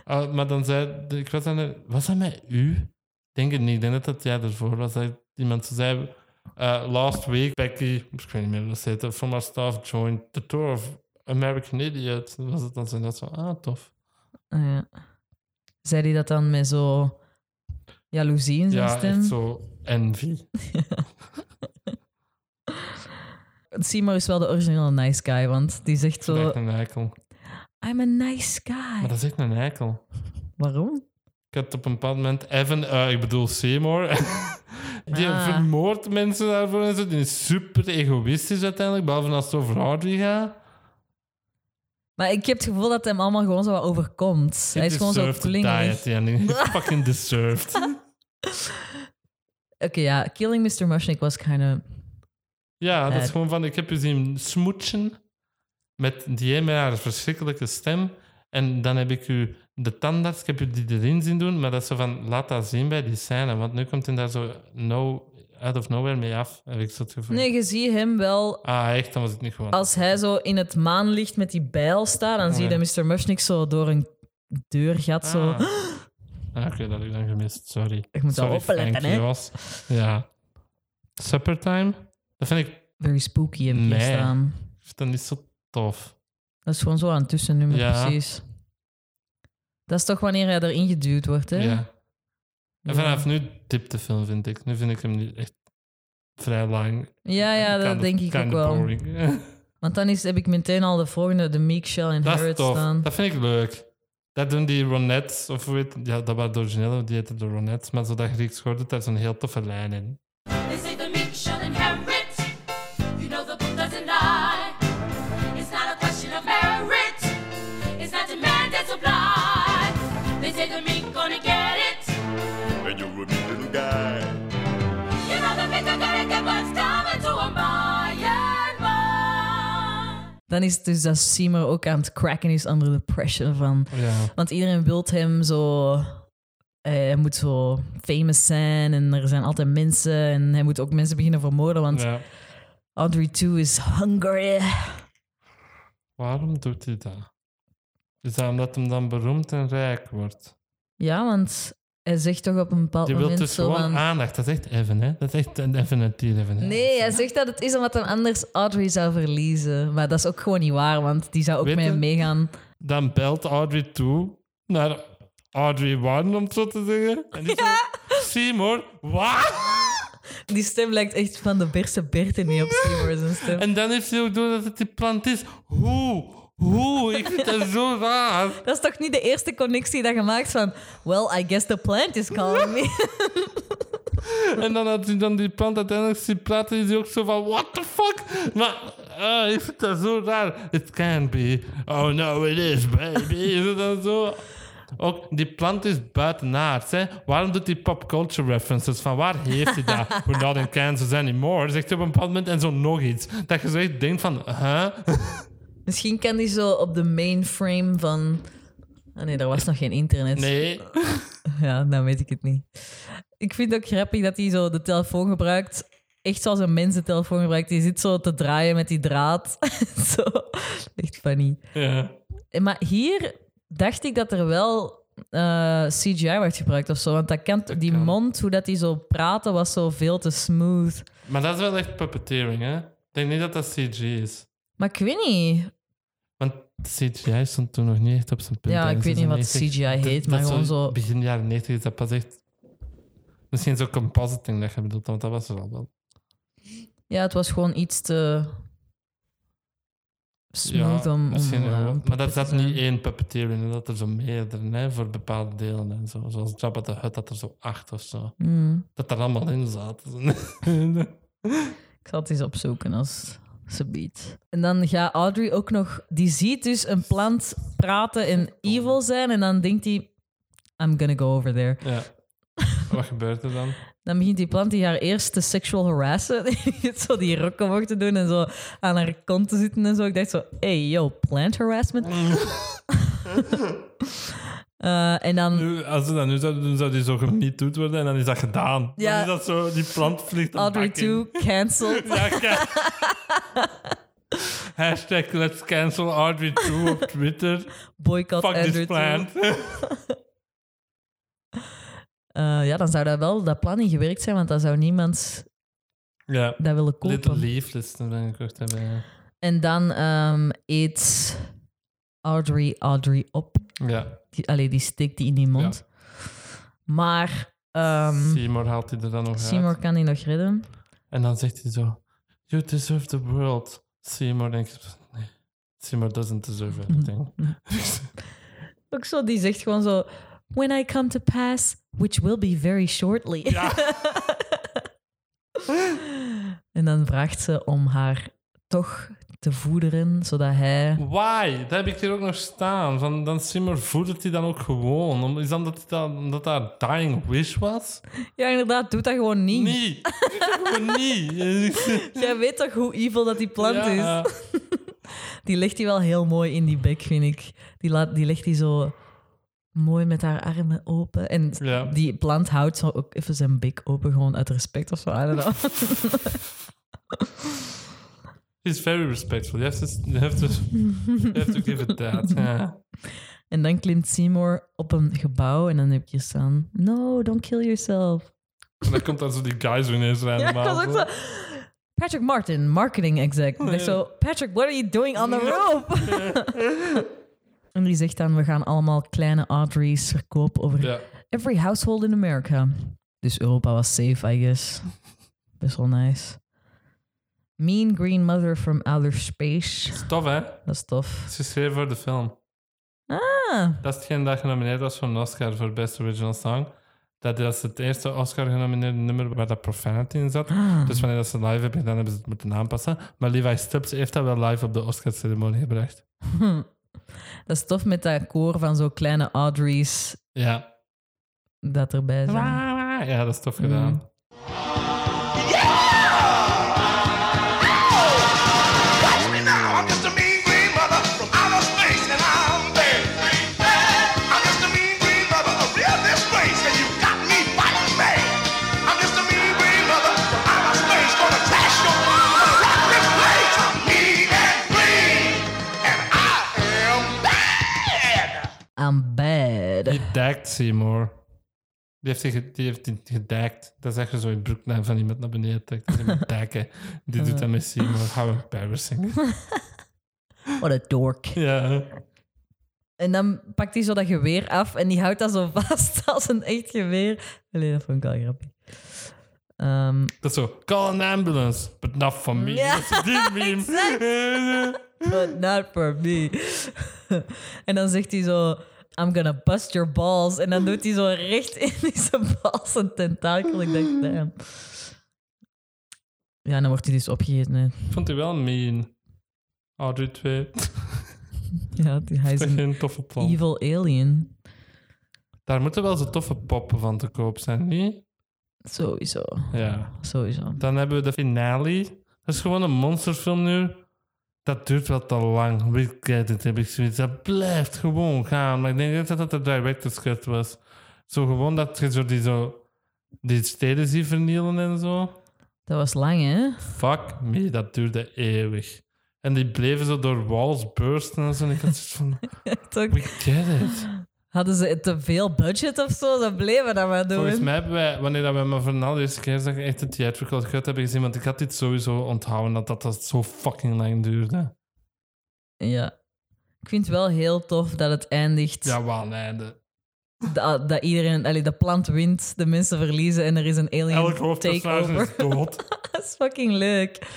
Ah, maar dan zei... Ik was, aan de- was dat met u? Ik Denk het niet. Ik denk dat dat jij ervoor was. Dat iemand zo zei... eh, last week, Becky... Ik weet niet meer hoe dat heette. From our staff joined the tour of American Idiot. Dan Was het dan zo, dat zo... Ah, tof. Ah, ja. Zei hij dat dan met zo jaloezie in zijn Ja, stem? echt zo... Envy. Seymour is wel de originele nice guy, want die zegt Dat is zo... echt een eikel. I'm a nice guy. Maar dat is echt een eikel. Waarom? Ik had op een bepaald moment Evan, eh, ik bedoel Seymour, die Ah. vermoordt mensen daarvoor en zo. Die is super egoïstisch uiteindelijk, behalve als het over Audrey gaat. Maar ik heb het gevoel dat hem allemaal gewoon zo wat overkomt. Hij is gewoon zo klingelig. diet, Oké, fucking deserved. ja. Killing Mr. Mushnick was kind of... Ja, dat is Bad. gewoon van, ik heb je zien smoetsen met die met haar verschrikkelijke stem. En dan heb ik u de tandarts, ik heb u die erin zien doen, maar dat is zo van, laat dat zien bij die scène, want nu komt hij daar zo no, out of nowhere mee af, heb ik zo het gevoel. Nee, je ziet hem wel... Ah, echt? Dan was ik niet gewoon. Als hij zo in het maanlicht met die bijl staat, dan zie je Ja. dat Mr. Mushnick zo door een deurgat zo... Ah. Ah, Oké, dat heb ik dan gemist. Sorry. Ik moet wel Sorry, opletten, Frankie hè. Jos. Ja. Suppertime? Dat vind ik, Very spooky heb je Nee. staan. ik vind dat niet zo tof. Dat is gewoon zo aan tussennummer, Ja. precies. Dat is toch wanneer hij erin geduwd wordt, hè? Ja. En Ja. vanaf nu dipt de film, vind ik. Nu vind ik hem niet echt vrij lang. Ja, ja, dat Kind of- denk ik kind of ook wel. boring. Want dan is, heb ik meteen al de volgende, de Meek Shell en dat is Harriet tof. staan. Dat vind ik leuk. Dat doen die Ronettes, of hoe heet Ja, dat waren de originele, die heten de Ronettes. Maar zo dat Grieks gehoord, daar is een heel toffe lijn in. They say the meek shall inherit. You know the book doesn't lie. It's not a question of merit. It's not demand and supply. They say the meek gonna get it. and you're a mean little guy. You know the meek are gonna get what's coming to 'em by and by. Dan is het dus dat Seymour ook aan het cracken is onder the pressure van... Ja. Want iedereen wil hem zo... eh, hij moet zo famous zijn en er zijn altijd mensen. En hij moet ook mensen beginnen vermoorden, want ja. Audrey 2 is hungry. Waarom doet hij dat? Is dat omdat hem dan beroemd en rijk wordt? Ja, want hij zegt toch op een bepaald Je wilt moment dus zo gewoon van... aandacht. Dat is echt even, hè? Dat is echt een even een tier even. hè? Nee, hij zegt dat het is omdat hij anders Audrey zou verliezen. Maar dat is ook gewoon niet waar, want die zou ook Weet met hem je- meegaan. Dan belt Audrey toe naar Audrey One, om het zo te zeggen. En die zegt, Seymour, wat? Die stem lijkt echt van de Berse Berten niet op Seymour zijn stem. En dan heeft hij ook door dat het die plant is. Hoe? Hoe? Ik vind dat zo raar. Dat is toch niet de eerste connectie dat je maakt van... Well, I guess the plant is calling me. En dan had hij dan die plant uiteindelijk zien praten. Is hij ook zo van, what the fuck? Maar eh, ik vind dat zo raar. It can't be. Oh no, it is, baby. Is het dan zo? Ook, die plant is buitenaards. Hè? Waarom doet hij pop culture references? Van waar heeft hij dat? We're not in Kansas anymore. Zegt hij op een bepaald moment en zo nog iets. Dat je zo echt denkt van, huh? Misschien kan die zo op de mainframe van... Ah nee, er was nog geen internet. Nee. Ja, dan weet ik het niet. Ik vind het ook grappig dat hij zo de telefoon gebruikt. Echt zoals een mens de telefoon gebruikt. Die zit zo te draaien met die draad. zo. Echt funny. Ja. Eh, Maar hier dacht ik dat er wel eh, CGI werd gebruikt of zo. Want dat kan, die kan. mond, hoe dat hij zo praatte, was zo veel te smooth. Maar dat is wel echt puppeteering, hè? Ik denk niet dat dat CG is. Maar ik weet niet. Want CGI stond toen nog niet echt op zijn punt. Dus Ja, ik ergens weet in niet de wat 90. CGI heet, Dat- maar dat gewoon zo zo- Begin jaren 90 is dat pas echt Misschien zo'n compositing dat je bedoelt, want dat was er al wel. Ja, het was gewoon iets te smooth om, om misschien eh, wel. een Maar puppet dat te zat zijn. niet één puppeteer in, dat er zo meerdere, hè, voor bepaalde delen en zo. Zoals Jabba de Hutt had er zo acht of zo. Mm. Dat er allemaal in zaten. Ik zal het eens opzoeken als ze biedt. En dan gaat Audrey ook nog... Die ziet dus een plant praten en evil zijn. En dan denkt hij... I'm gonna go over there. ja. Wat gebeurt er dan? Dan begint die plant die haar eerst te sexual harassen. Die begint zo die rokken mocht te doen en zo aan haar kont te zitten en zo. Ik dacht zo, hey yo, plant harassment. Eh, en dan Nu, als ze dat nu zouden doen, zou die zo gemietoet worden en dan is dat gedaan. Ja. Dan is dat zo, die plant vliegt een Audrey bak in. 2 cancelled. Ja, kijk. Hashtag let's cancel Audrey 2 op Twitter. Boycott Fuck this Audrey 2. plant. Eh, ja, dan zou dat wel, dat plan niet gewerkt zijn, want dan zou niemand ja. dat willen Little kopen. Leaflets dat ben ik gekocht hebben. Ja. En dan ehm, eet Audrey Audrey op. ja. Die, allee, die steekt die in die mond. Maar ehm Seymour haalt hij er dan nog Seymour uit. kan die nog redden. En dan zegt hij zo: You deserve the world. Seymour denkt: Nee, Seymour doesn't deserve Mm-hmm. anything. Ook zo, die zegt gewoon zo... When I come to pass, which will be very shortly. en dan vraagt ze om haar toch te voederen, zodat hij... Why? Dat heb ik hier ook nog staan. Van, dan Seymour voedert hij dan ook gewoon. Om- Is dat omdat, hij dan, omdat dat haar dying wish was? Ja, inderdaad, doet dat gewoon niet. Nee, gewoon niet. Jij weet toch hoe evil dat die plant is? Ja. Die legt hij wel heel mooi in die bek, vind ik. Die, laat, die legt hij zo mooi met haar armen open. En Ja. die plant houdt zo ook even zijn bek open, gewoon uit respect of zo. I don't know. He's very respectful. You have to, you have to, you have to give it that. Ja. en dan klimt Seymour op een gebouw en dan heb ik je staan... No, don't kill yourself. En dan komt dan zo die guys weer ineens aan. Ja, ik was ook zo... Patrick Martin, marketing exec. Ik dacht zo, Patrick, what are you doing on the rope? en die zegt dan, we gaan allemaal kleine Audrey's verkopen over Ja. Every household in America. Dus Europa was safe, I guess. Best wel nice. Mean Green Mother from Outer Space. Tof, hè? Dat is tof. Het is geschreven voor de film. Ah, Dat is hetgeen dat genomineerd was voor een Oscar voor Best Original Song. Dat is het eerste Oscar-genomineerde nummer waar dat profanity in zat. Ah. Dus wanneer dat ze live hebben gedaan, hebben ze het moeten aanpassen. Maar Levi Stubbs heeft dat wel live op de Oscar-ceremonie gebracht. dat is tof met dat koor van zo'n kleine Audrey's Ja. dat erbij zijn. Ja, dat is Mm. tof gedaan. Watch me now, I'm just a mean green mother from outer space, and I'm very green mad. I'm just a mean green mother, a real disgrace, and you got me fighting mad. I'm just a mean green mother from outer space, gonna trash your mom, gonna rock this place. I'm mean and green, and I am bad. I'm bad. Die dijkt Seymour. Die heeft, die, ge- die heeft die gedijkt. Dat is echt zo in broeknaam van iemand naar beneden trekt. Dat is iemand dijken. Die doet dat met Seymour. How embarrassing. What a dork. Ja. En dan pakt hij zo dat geweer af en die houdt dat zo vast als een echt geweer. Allee, dat vond ik wel grappig. Ehm, Dat is zo, call an ambulance, but not for me. Ja, Dat is die meme. but not for me. en dan zegt hij zo, I'm gonna bust your balls. En dan doet hij zo recht in zijn balls een tentakel. Ik dacht, damn. Ja, dan wordt hij dus opgegeten. hè. Ik vond die wel mean. Audrey 2, Ja, die- hij is dat is een geen toffe pop. evil alien. Daar moeten wel zo toffe poppen van te koop zijn, niet? Sowieso, Ja. sowieso. Dan hebben we de finale. Dat is gewoon een monsterfilm nu. Dat duurt wel te lang. We get it, heb ik zoiets. Dat blijft gewoon gaan. Maar ik denk dat dat de director's cut was. Zo gewoon dat je zo die, zo die steden ziet vernielen en zo. Dat was lang, hè? Fuck me, dat duurde eeuwig. En die bleven zo door walls bursten en zo. En ik had zoiets van, Toch? we get it. Hadden ze te veel budget of zo? Ze bleven dat maar doen. Volgens mij hebben wij, wanneer dat wij me vernaal de eerste keer zag, echt het theatrical cut hebben gezien. Want ik had dit sowieso onthouden, dat dat, dat zo fucking lang duurde. Ja. Ik vind het wel heel tof dat het eindigt Ja, wel, nee. de- dat, dat iedereen, allee, dat plant wint, de mensen verliezen en er is een Elk alien hoofdpersonage takeover. is dood. dat is fucking leuk.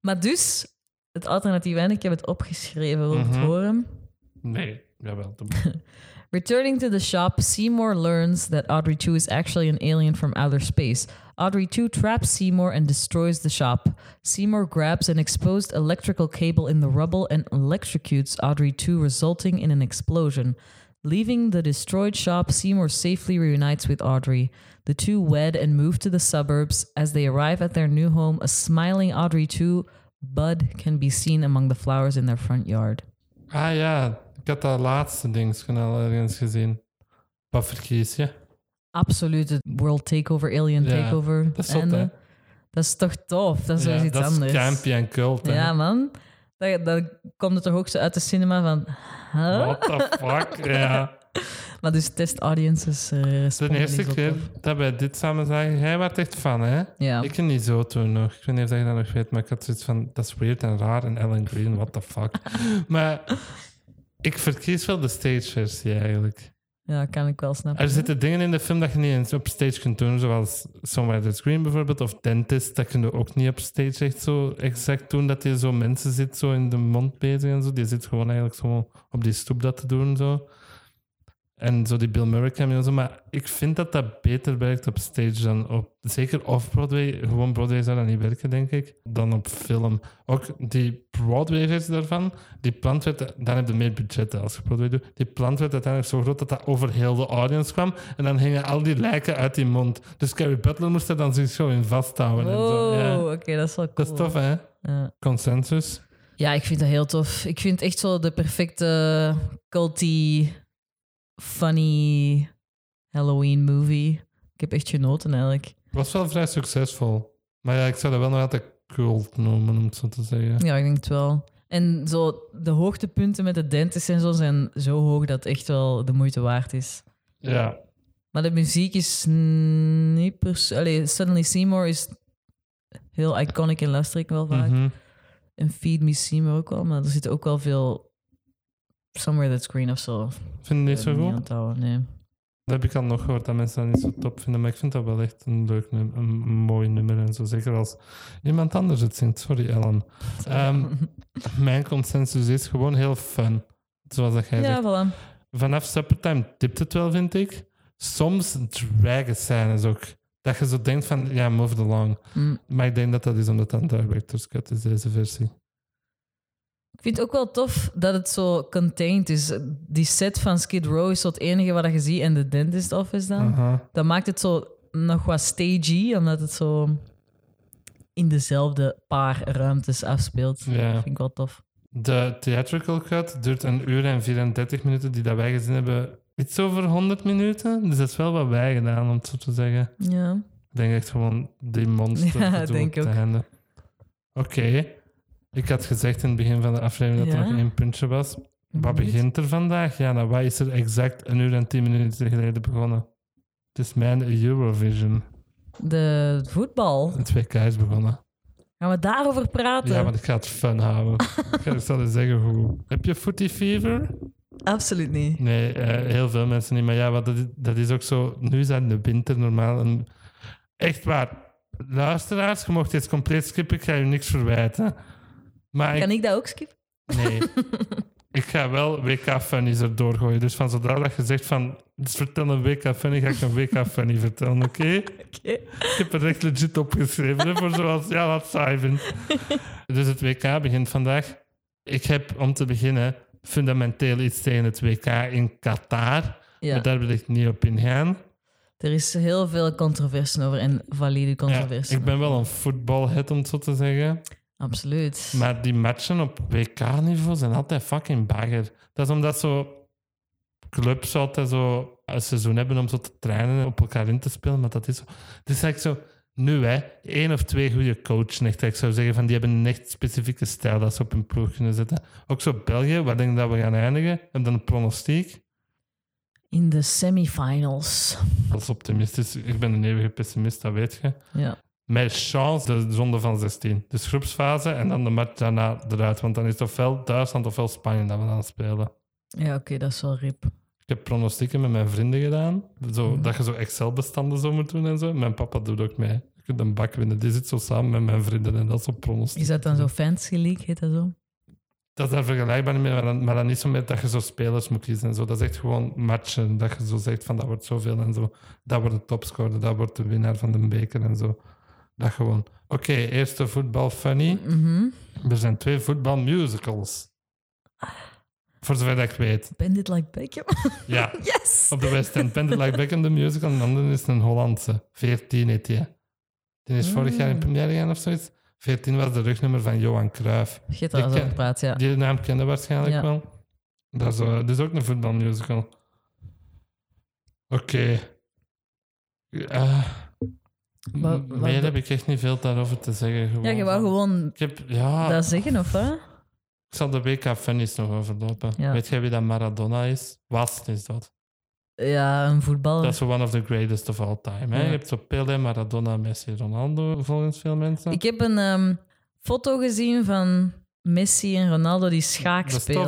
Maar dus, het alternatief einde, ik heb het opgeschreven, wil je Mhm. het horen? Nee, jawel. dat- Returning to the shop, Seymour learns that Audrey 2 is actually an alien from outer space. Audrey 2 traps Seymour and destroys the shop. Seymour grabs an exposed electrical cable in the rubble and electrocutes Audrey 2, resulting in an explosion. Leaving the destroyed shop, Seymour safely reunites with Audrey. The two wed and move to the suburbs. As they arrive at their new home, a smiling Audrey 2 bud can be seen among the flowers in their front yard. Ah ja, ik had dat laatste ding al ergens gezien. Wat verkies je? absoluut het world takeover, alien Ja, takeover. dat is zot, einde. hè? Dat is toch tof? Dat is Ja, wel iets dat anders. is campy en cult. hè. ja, man. Dat, dat komt het toch ook zo uit de cinema van... huh? What the fuck? ja. Maar dus test audiences eh, De responden eerste niet zo keer tof. dat wij dit samen zagen, jij werd echt fan, hè? Ja. Ik niet zo toen nog. Ik weet niet of je dat nog weet, maar ik had zoiets van... Dat is weird en raar en Alan Green, what the fuck. maar ik verkies wel de stageversie eigenlijk. Ja, kan ik wel snappen. Er zitten dingen in de film dat je niet eens op stage kunt doen, zoals Somewhere There's Green bijvoorbeeld, of Dentist, dat kun je ook niet op stage echt zo exact doen, dat je zo mensen zit zo in de mond bezig en zo. Die zit gewoon eigenlijk zo op die stoep dat te doen, zo. En zo die Bill Murray cameo en zo. Maar ik vind dat dat beter werkt op stage dan op... Zeker off-Broadway. Gewoon Broadway zou dat niet werken, denk ik. Dan op film. Ook die Broadway-versie daarvan. Die plant werd... Dan heb je meer budget hè, als je Broadway doet. Die plant werd uiteindelijk zo groot dat dat over heel de audience kwam. En dan hingen al die lijken uit die mond. Dus Carrie Butler moest er dan zich zo in vasthouden. En zo. Ja. Oh, oké, dat is wel cool. Dat is tof, hè? Ja. Consensus. Ja, ik vind dat heel tof. Ik vind echt zo de perfecte culty, funny Halloween movie. Ik heb echt genoten eigenlijk. Was wel vrij succesvol. Maar ja, ik zou dat wel nog altijd cult noemen, om het zo te zeggen. Ja, ik denk het wel. En zo, de hoogtepunten met de dentist en zo zijn zo hoog dat het echt wel de moeite waard is. ja. Maar de muziek is niet pers... Allee, Suddenly Seymour is heel iconic en luister ik wel vaak. Mhm. En Feed Me Seymour ook wel, maar er zit ook wel veel... Somewhere That's Green of zo. Vind je niet zo Eh, goed? aan het houden, nee. Dat heb ik al nog gehoord, dat mensen dat niet zo top vinden. Maar ik vind dat wel echt een leuk nummer, een mooi nummer en zo. Zeker als iemand anders het zingt. Sorry, Ellen. Ehm, mijn consensus is gewoon heel fun. Zoals dat jij zegt. Ja, voilà. Vanaf Suppertime tipt het wel, vind ik. Soms dragen scènes ook. Dat je zo denkt van, ja, move it along. Mm. Maar ik denk dat dat is omdat dat een director's cut is, deze versie. Ik vind het ook wel tof dat het zo contained is. Die set van Skid Row is zo het enige wat je ziet en de dentist office dan. Aha. Dat maakt het zo nog wat stagey, omdat het zo in dezelfde paar ruimtes afspeelt. Ja. Dat vind ik wel tof. De theatrical cut duurt een uur en 34 minuten, die dat wij gezien hebben. Iets over 100 minuten. Dus dat is wel wat wij gedaan, om het zo te zeggen. Ja. Ik denk echt gewoon die monster Ja, gedoe op denk de ook. handen. Oké. Ik had gezegd in het begin van de aflevering dat er Ja. nog één puntje was. Wat begint er vandaag? Ja, nou, wat is er exact een uur en tien minuten geleden begonnen? Het is mijn Eurovision. De voetbal. Het WK is begonnen. Gaan we daarover praten? Ja, maar ik ga het fun houden. ik ga het zo zeggen hoe. Heb je footy fever? Absoluut niet. Nee, eh, heel veel mensen niet. Maar ja, wat dat, is, dat is ook zo. Nu is dat de winter normaal. een- echt waar. Luisteraars, je mocht dit compleet skippen. Ik ga je niks verwijten. Maar ik, Kan ik dat ook skippen? Nee. ik ga wel WK Funnies erdoor gooien. Dus van zodra dat je zegt van... Dus vertel een WK Funny, ga ik een WK Funny vertellen, oké? Oké. Ik heb er echt legit opgeschreven. Hè, voor zoals, ja, laat saai vind. Dus het WK begint vandaag. Ik heb om te beginnen fundamenteel iets tegen het WK in Qatar. Ja. Maar daar wil ik niet op ingaan. Er is heel veel controversie over en valide Ja, controversie. ik ben wel een voetbalhead, om het zo te zeggen. Absoluut. Maar die matchen op WK-niveau zijn altijd fucking bagger. Dat is omdat zo clubs altijd zo een seizoen hebben om zo te trainen, op elkaar in te spelen. Maar dat is zo. Het is eigenlijk zo. Nu, hè, één of twee goede coachen. Echt, dat ik zou zeggen van die hebben een echt specifieke stijl dat ze op hun ploeg kunnen zetten. Ook zo België, waar denk ik dat we gaan eindigen? En dan een pronostiek. In de semifinals. Dat is optimistisch. Ik ben een eeuwige pessimist, dat weet je. Ja. Met chance de ronde van 16. Dus groepsfase en dan de match daarna eruit. Want dan is het ofwel Duitsland ofwel Spanje dat we dan spelen. Ja, oké, dat is wel rip. Ik heb pronostieken met mijn vrienden gedaan. Zo, Mhm. Dat je zo Excel-bestanden zo moet doen en zo. Mijn papa doet ook mee. Je kunt een bak winnen. Die zit zo samen met mijn vrienden en dat is op pronostiek. Is dat dan zo fancy league, heet dat zo? Dat is daar vergelijkbaar mee, maar dan, maar dan niet zo met dat je zo spelers moet kiezen en zo. Dat is echt gewoon matchen. Dat je zo zegt van dat wordt zoveel en zo. Dat wordt de topscorer, dat wordt de winnaar van de beker en zo. Dat gewoon. Oké, eerste voetbal funny. Mhm. Er zijn twee voetbalmusicals. Voor zover dat ik weet. Bandit like Beckham. Ja. Yes! Op de West End. Pendant Like Beckham, de musical. En de andere is een Hollandse. 14 heet die. Die is vorig jaar in première gegaan of zoiets. 14 was de rugnummer van Johan Cruijff. Je hebt er al Ik eens ken- over gepraat, ja. Die naam kende waarschijnlijk Ja. wel. Dat is, eh, dat is ook een voetbalmusical. Oké. Eh, m- Wa- wa- meer heb ik echt niet veel daarover te zeggen. Gewoon Ja, je wou van- gewoon Ik, heb, ja, dat zeggen, of wat? ik zal de WK Funnies nog overlopen. Ja. Weet jij wie dat Maradona is? Was is dat. Ja, een voetballer. Dat is one of the greatest of all time. Hè? Oh. Ja. Je hebt zo Pele, Maradona, Messi, Ronaldo, volgens veel mensen. Ik heb een ehm, foto gezien van Messi en Ronaldo die schaak dat is spelen.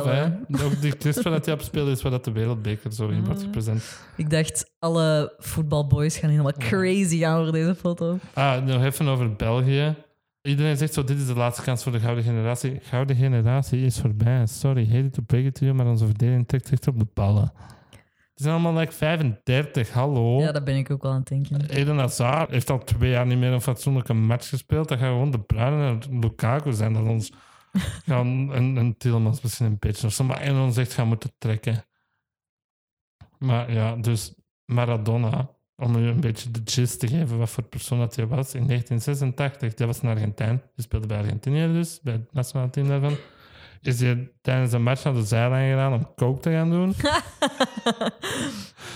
tof, hè? Ook die clips waar dat hij op speelt, is waar dat de wereldbeker zo in Mm. wordt gepresenteerd. Ik dacht, alle voetbalboys gaan helemaal crazy gaan over deze foto. Ah, nog even over België. Iedereen zegt zo, dit is de laatste kans voor de gouden generatie. Gouden generatie is voorbij. Sorry, hate to break it to you, maar onze verdediging trekt echt op de ballen. Die zijn allemaal like 35, hallo. Ja, daar ben ik ook wel aan het denken. eh, Eden Hazard heeft al twee jaar niet meer een fatsoenlijke match gespeeld. Dat gaan gewoon de Bruinen en Lukaku zijn dat ons gaan een, een Tillemans misschien een beetje of zo, maar en ons echt gaan moeten trekken. Maar ja, dus Maradona, om u een beetje de gist te geven wat voor persoon dat hij was, in 1986, dat was een Argentijn, die speelde bij Argentinië dus, bij het nationale team daarvan, is hij tijdens een match naar de zijlijn gedaan om coke te gaan doen.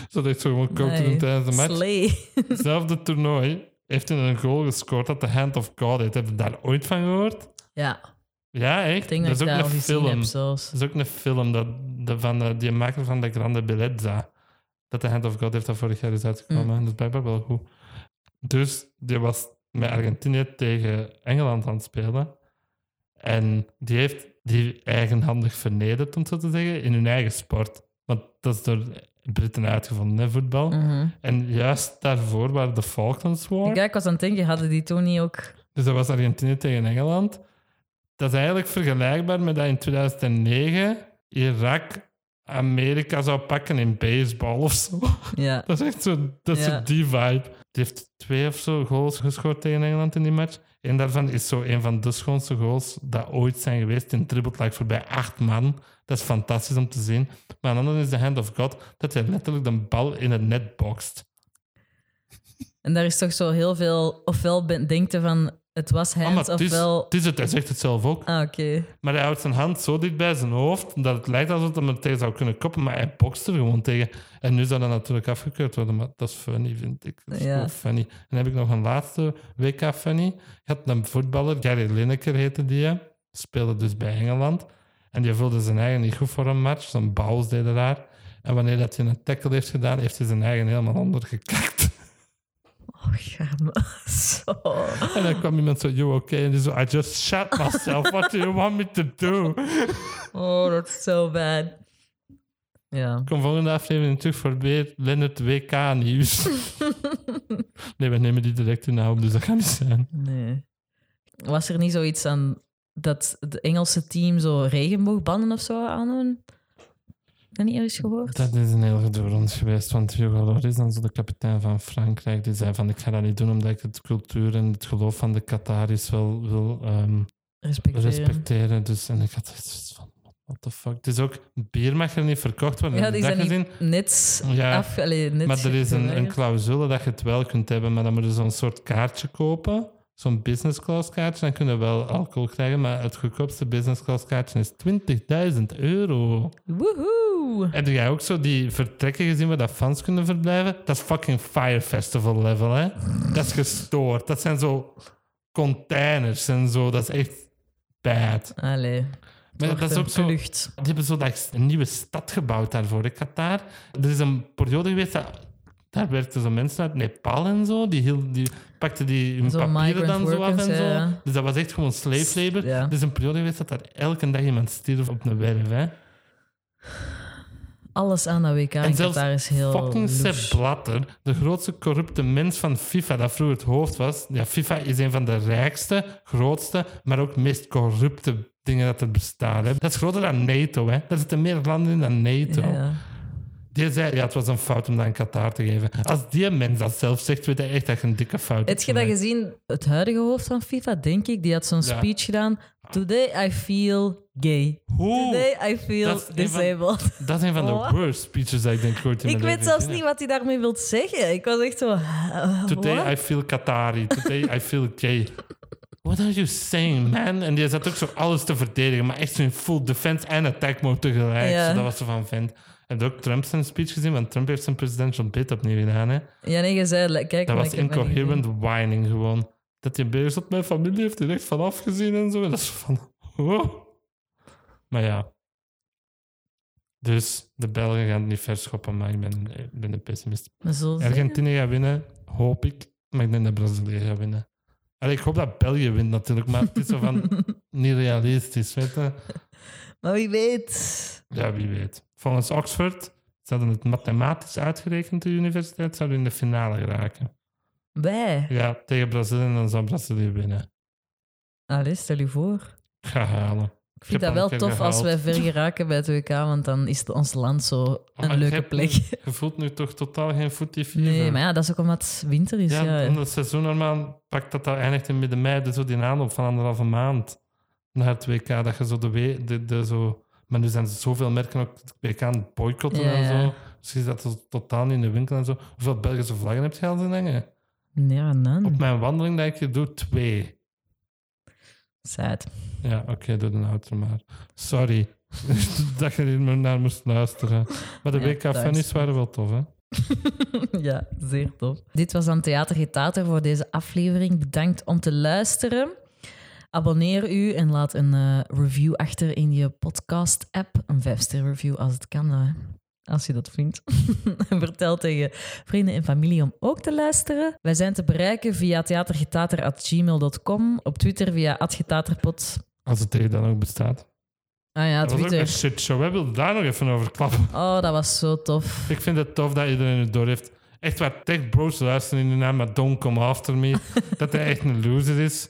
Zodat hij zo gewoon coke te doen Nee, tijdens de match Slay. hetzelfde toernooi heeft hij een goal gescoord dat de Hand of God heet. Hebben we daar ooit van gehoord? Ja, Ja, echt? ik denk dat, dat is ik ook daar al een gezien film. heb zelfs. Dat is ook een film dat, de, van de, die maker van de Grande Bellezza. Dat de Hand of God heeft dat vorig jaar is uitgekomen. Mm. Dat is blijkbaar wel goed. Dus die was met Argentinië tegen Engeland aan het spelen. En die heeft die eigenhandig vernederd, om het zo te zeggen, in hun eigen sport. Want dat is door Britten uitgevonden, hè, voetbal. Mhm. En juist daarvoor waren de Falklands War. Ja, ik was aan het denken, hadden die toen niet ook... Dus dat was Argentinië tegen Engeland. Dat is eigenlijk vergelijkbaar met dat in 2009 Irak Amerika zou pakken in baseball of zo. Ja, Dat is echt zo, dat is Ja. zo die vibe. Die heeft twee of zo goals gescoord tegen Engeland in die match. En daarvan is zo een van de schoonste goals dat ooit zijn geweest in dribbelt like voorbij acht man. Dat is fantastisch om te zien. Maar een ander is de hand of God, dat hij letterlijk de bal in het net bokst. en daar is toch zo heel veel... Ofwel ben, denkt hij van, het was Ah, maar hands, het is, ofwel... het is het, hij zegt het zelf ook. Ah, oké. Maar hij houdt zijn hand zo dicht bij zijn hoofd dat het lijkt alsof hij hem er tegen zou kunnen koppen, maar hij bokst er gewoon tegen. En nu zou dat natuurlijk afgekeurd worden, maar dat is funny, vind ik. Dat is Ja. gewoon funny. En dan heb ik nog een laatste WK funny. Je had een voetballer, Gary Lineker heette die, hè. speelde dus bij Engeland. En die voelde zijn eigen niet goed voor een match, zijn bouws deed daar. En wanneer dat hij een tackle heeft gedaan, heeft hij zijn eigen helemaal ondergekakt. Oh, garme. Zo. En dan kwam iemand zo, you okay? En die zo, I just shot myself, what do you want me to do? Oh, dat is zo bad. Ja. Kom volgende aflevering terug voor weer Lennart WK-nieuws. nee, we nemen die direct in op, dus dat gaat niet zijn. Nee. Was er niet zoiets aan dat het Engelse team zo regenboogbanden of zo aandoen? Heb je niet eens gehoord? Dat is een heel gedoe rond geweest, want Hugo Loris, dan zo de kapitein van Frankrijk, die zei van ik ga dat niet doen omdat ik het cultuur en het geloof van de Qataris wel wil ehm, Respecteren. respecteren. Dus, en ik had echt zoiets van, what the fuck. Het is ook, bier mag er niet verkocht worden. Ja, Heb die je zijn dat gezien? niet net Ja, af... Allee, net Maar er is een, een geweigerd. clausule dat je het wel kunt hebben, maar dan moet je zo'n soort kaartje kopen. Zo'n business class kaartje. Dan kun je wel alcohol krijgen, maar het goedkoopste business class kaartje is 20.000 euro. Woehoe! Heb jij ook zo die vertrekken gezien waar dat fans kunnen verblijven? Dat is fucking Fire Festival level, hè? Dat is gestoord. Dat zijn zo containers en zo. Dat is echt bad. Allee. Maar dat is ook zo... Lucht. Die hebben zo dat, een nieuwe stad gebouwd daarvoor. Ik had daar... Er is een periode geweest dat... Daar werkten zo mensen uit Nepal en zo. Die, hielden- die pakten die hun Zo papieren migrant dan zo af workers, en zo. ja. Dus dat was echt gewoon slave labor. Ja. Er is een periode geweest dat daar elke dag iemand stierf op een werf. Hè. alles aan dat WK in En zelfs Qatar is heel fucking Sepp louche. Blatter, de grootste corrupte mens van FIFA, dat vroeger het hoofd was. Ja, FIFA is een van de rijkste, grootste, maar ook meest corrupte dingen dat er bestaan. Hè. Dat is groter dan NATO. Hè. Daar zitten meer landen in dan NATO. Ja, ja. Die zei, ja, het was een fout om dat in Qatar te geven. Als die mens dat zelf zegt, weet hij echt dat je een dikke fout Heb je dat gemaakt. gezien? Het huidige hoofd van FIFA, denk ik, die had zo'n Ja. speech gedaan. Today I feel gay. Hoe? Today I feel Dat is een van- disabled. Dat is een van de Wat? worst speeches dat ik denk ooit in Ik mijn weet leven zelfs heb. niet wat hij daarmee wil zeggen. Ik was echt zo... eh, Today what? I feel Qatari. Today I feel gay. What are you saying, man? En die zat ook zo alles te verdedigen, maar echt zo in full defense en attack mode tegelijk. Ja. Zo, dat was ze van vent. Heb je ook Trump zijn speech gezien? Want Trump heeft zijn presidential bid opnieuw gedaan. Hè? Ja, nee, je zei... like, Kijk, Dat maar was ik heb dat niet incoherent whining gewoon. Dat je beers op mijn familie heeft er echt van afgezien en zo. En dat is van... Oh. Maar ja. Dus de Belgen gaan het niet verschoppen, maar ik ben, ik ben een pessimist. gezien. We zullen zien. Argentinië gaat winnen, hoop ik. Maar ik denk dat Brazilië gaat winnen. Allee, ik hoop dat België wint natuurlijk, maar het is zo van niet realistisch. Weet je? Maar wie weet... Ja, wie weet. Volgens Oxford, ze hadden het mathematisch uitgerekend, de universiteit, zouden in de finale geraken. Wij. Ja, tegen Brazilië en dan zou Brazilië winnen. Allee, stel je voor. Ik ga halen. Ik heb vind dat al wel een keer tof als gehaald. wij ver geraken bij het WK, want dan is het ons land zo een Maar leuke je hebt plek. nu- Je voelt nu toch totaal geen footy fever. Nee, maar ja, dat is ook omdat het winter is. eh, Ja, Ja, omdat het seizoen normaal pakt dat dat eindigt in midden mei, dus zo die aanloop van anderhalve maand naar het WK, dat je zo de, we- de, de zo... Maar nu zijn ze zoveel merken ook het WK aan het boycotten Ja, en ja. zo. Dus je ziet dat zo totaal niet in de winkel en zo. Hoeveel Belgische vlaggen heb je al zien hangen? ja dan. Op mijn wandeling dat ik hier doe, twee. Sad. Ja, oké, doe de auto maar. Sorry dat je hier maar naar moest luisteren. Maar de Ja, WK-funnies thuis. waren wel tof, hè? ja, zeer tof. Dit was dan Theater Getater voor deze aflevering. Bedankt om te luisteren. Abonneer u en laat een eh, review achter in je podcast-app. Een 5-ster review als het kan, eh, als je dat vindt. en vertel tegen vrienden en familie om ook te luisteren. Wij zijn te bereiken via theatergetater.gmail.com, op Twitter via @getaterpod. Als het tegen dan ook bestaat. Ah ja, Dat was ook Twitter. een shitshow. We willen daar nog even over klappen. Oh, dat was zo tof. Ik vind het tof dat iedereen het door heeft. Echt waar, tech bros luisteren in de naam, maar don't come after me. dat hij echt een loser is.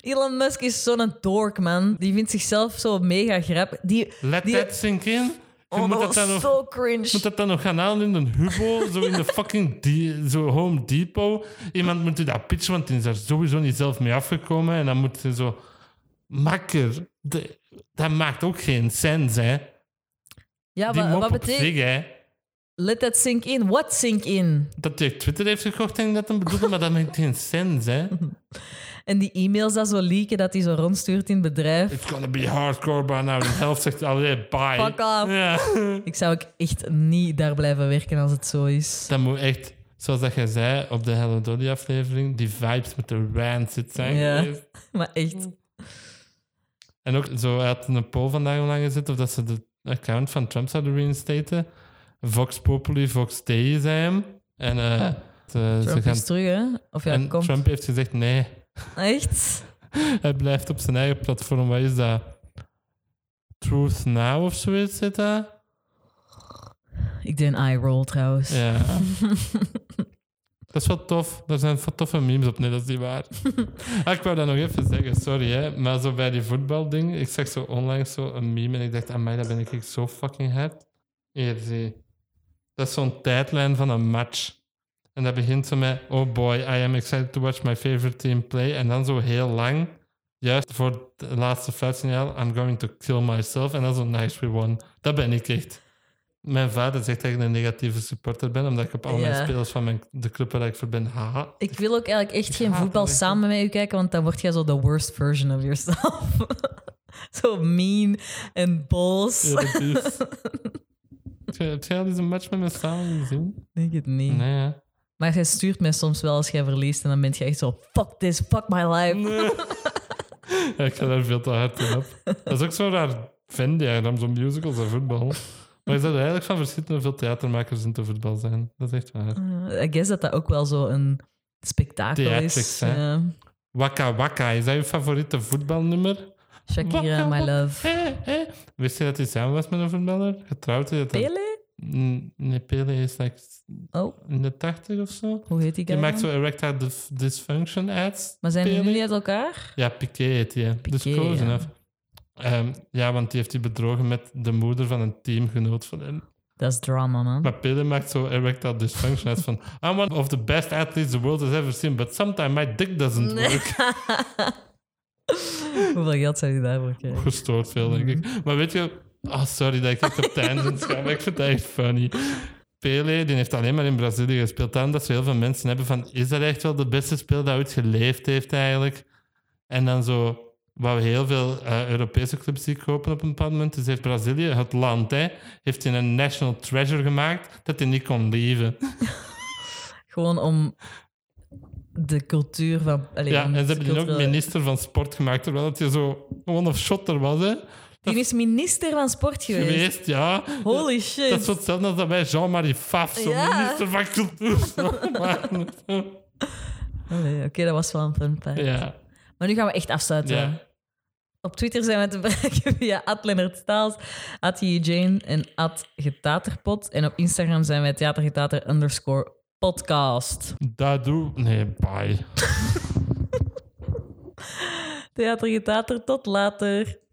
Elon Musk is zo'n dork, man. Die vindt zichzelf zo mega grap. Die, Let die, that sink in. Je Oh, moet, dat dat was dan nog, zo cringe. moet dat dan nog gaan halen in een hubo, zo in de fucking di- zo Home Depot. Iemand moet u dat pitchen, want die is daar sowieso niet zelf mee afgekomen. En dan moet ze zo... Makker, de- dat maakt ook geen sens, hè. ja, Die wa- mop wat op betekent... zich, hè. Let that sink in. What sink in? Dat hij Twitter heeft gekocht, denk ik dat hem bedoelde, maar dat maakt geen sens, hè. En die e-mails dat zo leaken, dat hij zo rondstuurt in het bedrijf. It's gonna be hardcore by now. De helft zegt allee, bye. Fuck off. Ja. Ik zou ook echt niet daar blijven werken als het zo is. Dat moet echt, zoals dat jij zei op de Hello Dolly aflevering, die vibes met de rancid zijn Ja. geweest. Maar echt. En ook zo hij had een poll vandaag online gezet of dat ze de account van Trump zouden reinstaten. Vox Populi, Vox Dei zei hem. En eh, ze, ze Ah. Trump gaan... is terug, hè? Of ja, en komt. Trump heeft gezegd nee. Echt? Hij blijft op zijn eigen platform. Wat is dat? Truth Now of zoiets zit dat? Ik deed een eye roll trouwens. Ja. dat is wel tof. Er zijn wat toffe memes op. Nee, dat is niet waar. Ah, ik wou dat nog even zeggen, sorry hè. Maar zo bij die voetbalding, ik zag zo onlangs zo een meme en ik dacht, mij dat ben ik echt zo fucking hard. Hier zie. je. Dat is zo'n tijdlijn van een match. En dat begint zo met, oh boy, I am excited to watch my favorite team play. En dan zo heel lang, juist voor het laatste fluitsignaal, I'm going to kill myself. En dan zo, nice, we won. Dat ben ik echt. Mijn vader zegt dat ik een negatieve supporter ben, omdat ik op al Ja. mijn spelers van mijn, de club waar ik voor ben, haha. Ik wil ook eigenlijk echt geen haat voetbal dat echt, samen met u kijken, want dan word jij zo de worst version of yourself. zo mean en boos. Ja, dat is. Heb jij- Heb jij al eens een match met me samen gezien? Ik denk het niet. Nee, hè? Maar jij stuurt mij soms wel als jij verliest en dan ben je echt zo: fuck this, fuck my life. Ja, ik ga daar veel te hard in op. Dat is ook zo'n raar fan-diagram, zo'n musicals en voetbal. Maar je zou er eigenlijk van verschieten hoeveel theatermakers in de voetbal zijn. Dat is echt waar. Eh, I guess dat dat ook wel zo een spektakel Theatrics, is. eh, hè? Ja. Waka Waka, is dat je favoriete voetbalnummer? Shakira, Waka eh, my Waka. love. Hé, hé. Wist je dat hij samen was met een voetballer? Getrouwd is dat dan? Pele? N- Nepele is like Oh, in de 80 of zo. hoe heet die Die guy? maakt dan? zo erectile dis- dysfunction ads. Maar zijn die Pele. nu niet uit elkaar? Ja, Piqué heet die. hè. dus Piqué, close ja. enough. Ehm, ja, want die heeft die bedrogen met de moeder van een teamgenoot van hem. Dat is drama, man. Maar Pele maakt zo erectile dysfunction ads van... I'm one of the best athletes the world has ever seen, but sometimes my dick doesn't work. Hoeveel geld zou je daarvoor krijgen? Gestoord veel, denk ik. Maar weet je... Oh, sorry dat ik echt op tangents ga, maar ik vind dat echt funny. Pele, die heeft alleen maar in Brazilië gespeeld. Dan dat zo heel veel mensen hebben van... Is dat echt wel de beste speler dat ooit geleefd heeft, eigenlijk? En dan zo... Waar we heel veel eh, Europese clubs zien kopen op een bepaald moment. Dus heeft Brazilië, het land, hè, heeft hij een national treasure gemaakt dat hij niet kon leven. Gewoon om de cultuur van... allee, Ja, en om ze het hebben die ook culturele- minister van sport gemaakt, terwijl dat je zo gewoon of shotter was, hè? Die is minister van sport geweest. Geweest, ja. Holy shit. Dat is zo hetzelfde als dat wij Jean-Marie Pfaff, zo Ja. minister van cultuur zouden maken. Allee, Oké, dat was wel een fun fact. ja, Maar nu gaan we echt afsluiten. ja. Op Twitter zijn we te bereiken via @leonardstaals, @jane en @getaterpot. En op Instagram zijn wij theatergetater underscore podcast. Dat doe... Nee, bye. Theatergetater, tot later.